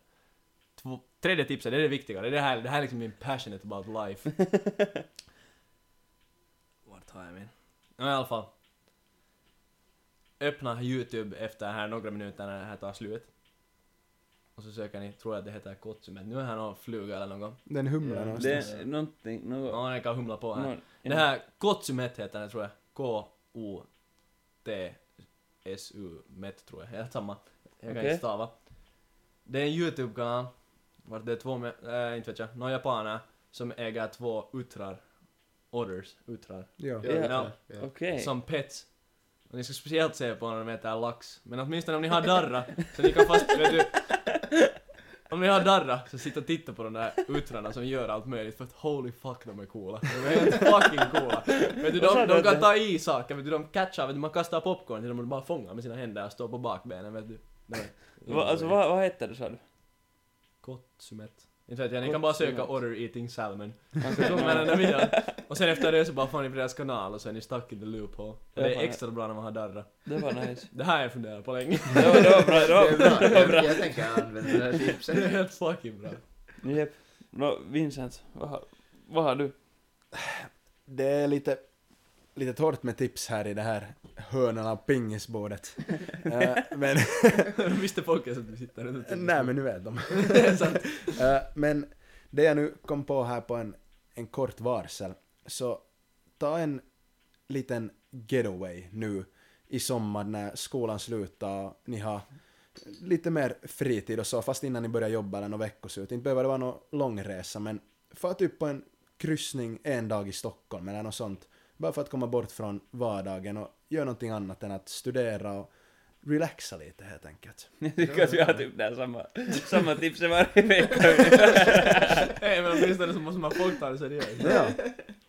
D: Två, tredje tipset, det är det viktiga. Det, är det, här, det här är liksom min passionate about life. Vart har jag min? Ja, i alla fall. Öppna YouTube efter här några minuter när det här tar slut. Och så söker ni, tror jag att det heter kotsu, men nu är här någon fluga eller någon.
A: Den humlar
B: Ja,
A: någonstans.
C: Det är någonting, något...
D: Ja, den kan humla på här.
C: någon-
D: Det här Kotsumet heter den tror jag. K-O-T-S-U Met tror jag. Helt samma. Jag kan
C: Okej.
D: inte stava. Det är en YouTube-kanal. Vart det är två, med, äh, inte vet jag, några japaner som äger två uttrar. Otters, uttrar.
A: Ja.
B: Ja,
D: Ja.
B: ja.
C: Okej.
D: Som pets. Och ni ska speciellt se på när de äter lax. Men åtminstone om ni har darra, så ni kan fast, vet du. Om ni har darra, så sitt och titta på de där uttrarna som gör allt möjligt för att holy fuck de är coola. De är helt fucking coola. Vet du,
C: Vad sa
D: de,
C: du
D: de
C: att
D: kan
C: det-
D: ta i saker, vet du, de catchar, vet du, man kastar popcorn till dem och de bara fångar med sina händer och står på bakbenen, vet du. Nej.
C: Va, alltså, vad, vad hette det sa du?
D: Kotsumet. Inte vet jag, ni kan bara söka
C: Kotsumet.
D: order eating salmon.
C: Okej,
D: Så
C: no.
D: kommer den där videon. Och sen efter det så bara får ni på deras kanal och så är ni stuck in the loophole. Och det är extra bra när man har darra.
C: Det var nice.
D: Det här har jag funderat på länge.
C: Det var, det var bra,
B: Det
C: det
B: är
C: var bra.
B: bra.
C: Det var
B: Jag,
C: bra. Mm.
B: jag tänker använda det här tipset.
D: Det är helt fucking bra.
C: Japp. Nå, No, Vincent, vad har, vad har du?
A: Det är lite, lite torrt med tips här i det här hörnan av pingisbordet. Eh, men,
D: Visste folk ens att vi sitter runt omkring?
A: nej men nu vet de.
D: Det är sant.
A: Eh, men det jag nu kom på här på en, en kort varsel, så ta en liten getaway nu i sommar när skolan slutar och ni har lite mer fritid och så, fast innan ni börjar jobba eller några veckoslut. Inte behöver det vara någon långresa, men få typ på en kryssning en dag i Stockholm eller något sånt. Bara för att komma bort från vardagen och göra någonting annat än att studera och relaxa lite helt enkelt.
C: Jag tycker att vi har typ där samma, samma tips varje vecka.
D: Nej men åtminstone så måste man folk ta det seriöst.
A: Ja,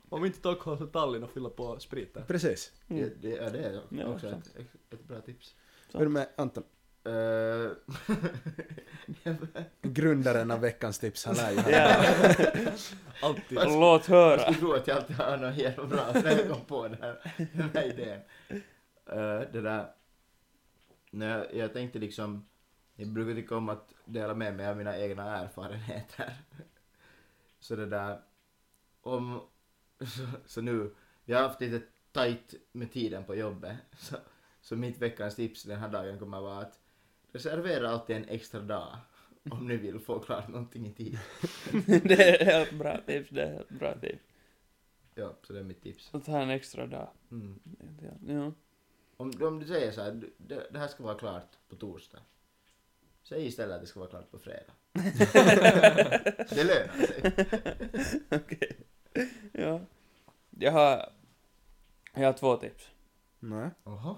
D: Om inte Stockholm så Tallinn och fylla på spriten.
A: precis.
B: Ja, det, ja, det är
C: Ja,
B: också
C: sant.
B: ett, ett bra tips.
C: Så.
A: Hur är det med Anton?
B: Eh,
A: Grundaren av veckans tips, han är ju här.
C: Ja.
D: Alltid.
C: Låt
B: jag
C: höra.
B: skulle tro att jag alltid har något jävla bra när jag kom på den här, den här idén. Eh, det där. När jag, jag tänkte liksom, jag brukar tycka om att dela med mig av mina egna erfarenheter. Så det där, om, så, så nu, jag har haft lite tajt med tiden på jobbet. Så, så mitt veckans tips den här dagen kommer vara att reservera alltid en extra dag om ni vill få klart någonting i tid.
C: Det är helt bra tips, det är helt bra tips.
B: Ja, så det är mitt tips.
C: Att ha en extra dag.
B: Mm.
C: Ja.
B: Om, om du säger så här, du- det, det här ska vara klart på torsdag. Säg istället att det ska vara klart på fredag. det lönar sig.
C: ja. Jag har, jag har två tips,
A: Nej.
B: Jaha.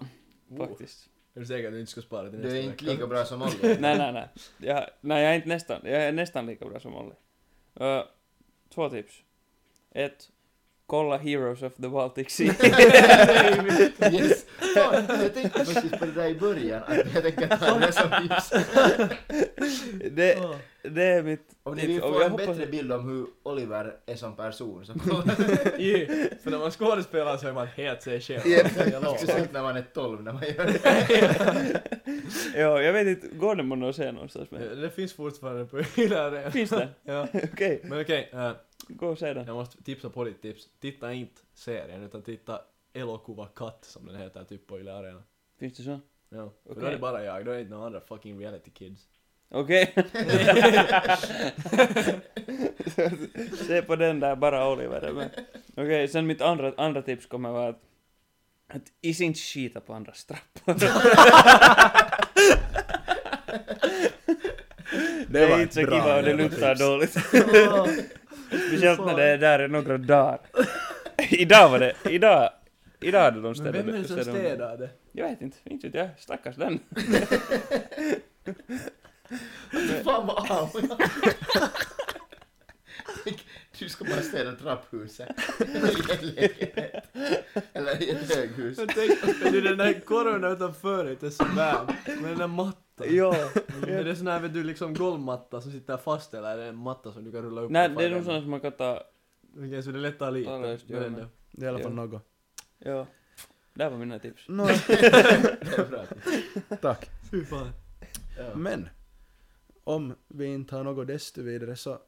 C: faktiskt.
D: Är du säker att du inte ska spara
B: Du
D: till nästa
B: Oh. är
D: vecka?
B: inte lika bra som Olli.
C: nej, nej, nej. Jag, nej, jag är inte nästan, jag är nästan lika bra som Olli. Ö, två tips. Ett, kolla Heroes of the Baltic Sea.
B: yes. Fan, jag tänkte faktiskt på det där i början, att jag tänker ta det som tips.
C: det,
D: Åh.
C: det är mitt...
B: Om ni
C: tips.
B: vill
C: Och
B: få
C: jag
B: en
C: hoppas-
B: bättre bild om hur Oliver är som person så kolla.
D: Yeah. För när man skådespelar så är man helt sig själv.
B: Jag lovar. Speciellt när man är 12 när man gör det.
C: Ja, jag vet inte, går det någon att se någonstans? Men...
D: Det finns fortfarande på hyllaren.
C: Finns det?
D: Ja.
C: Okej,
D: Men okej, eh,
C: gå och se den.
D: jag måste tipsa på ditt tips. Titta inte serien, utan titta Elokuva Katt som den heter typ på Yle Arena.
C: Finns det så?
D: Ja. För då
C: Okej.
D: är det bara jag, då är det inte några andra fucking reality kids.
C: Okej. Se på den där, bara Oliver är med. Okej, sen mitt andra, andra tips kommer vara att, att is inte skita på andra strappor. det
A: var
C: är
A: ett
C: inte så
A: bra
C: kiva och det
A: jävla
C: luktar
A: tips.
C: dåligt. Speciellt när det är där i några dagar. idag var det, idag, idag hade de
D: Men
C: städat.
D: vem är det som
C: städat undan.
D: städade?
C: Jag vet inte, inte vet jag. Stackars den.
B: Fan vad av. Du ska bara städa trapphuset. I en lägenhet. Eller i ett höghus.
D: Jag tänkte, du den där korven utan förut är så värd. Med den där mattan.
C: ja.
D: Är det sån här vet du liksom golvmatta som sitter fast eller är det en matta som du kan rulla upp?
C: Nej,
D: och
C: det är nog
D: falla
C: sådana som man kan ta...
D: med? Okej, så det lättar lite.
C: Ja, just det,
D: men
C: ja,
D: ändå.
A: Det är i alla fall
C: Ja.
A: något.
C: Ja. Där var mina tips.
A: Nå,
B: Det är bra.
A: tack.
D: Fy fan.
B: Ja.
A: Men, om vi inte har något desto vidare så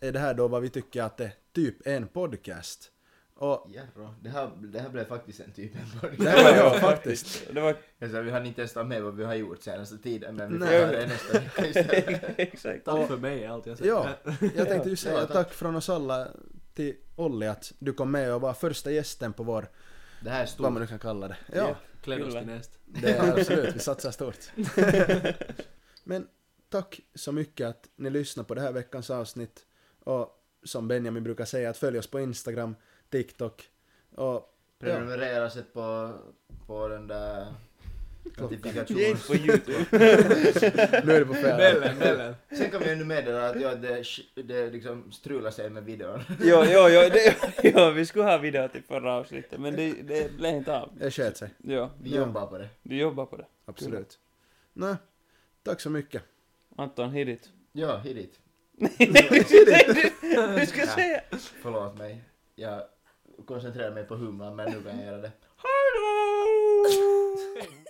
A: är det här då vad vi tycker att det är typ en podcast. Och
B: Järrå. Det här, det här blev faktiskt en typ en
A: det
B: början.
A: här var jag faktiskt.
C: Det var
B: Alltså, vi har inte ens tagit med vad vi har gjort senaste tiden men vi får
A: Nej.
B: göra det nästa vecka istället.
C: exakt.
D: Tack för mig är allt jag säger.
A: Ja, jag tänkte ju
B: Ja,
A: säga
B: tack.
A: tack från oss alla till Olli att du kom med och var första gästen på vår,
B: Det här är
A: vad man
B: stort.
A: nu kan kalla det. Ja,
D: Klär oss
C: Kyllä.
D: till näst.
A: det är absolut, vi satsar stort. Men tack så mycket att ni lyssnar på det här veckans avsnitt och som Benjamin brukar säga att följ oss på Instagram, TikTok och ja,
B: Prenumerera sig på, på den där
C: Ge inte
B: notifikations...
C: på YouTube.
A: nu är det på fel.
D: Bellen, bellen.
B: Sen kan vi ännu meddela att ja, det, det liksom strular sig med videon.
C: jo, jo, jo, det, jo, vi skulle ha video till förra avsnittet, men det, det blev inte av.
A: Det sket sig,
C: Jo,
B: Vi
A: Ja.
B: jobbar på det.
C: du jobbar på det.
A: absolut. Nå, tack så mycket.
C: Anton, hit it.
B: Ja, hit it.
C: du, du ska säga...
B: Förlåt mig. Jag koncentrerar mig på humlan men nu kan jag göra det.
C: Hallå!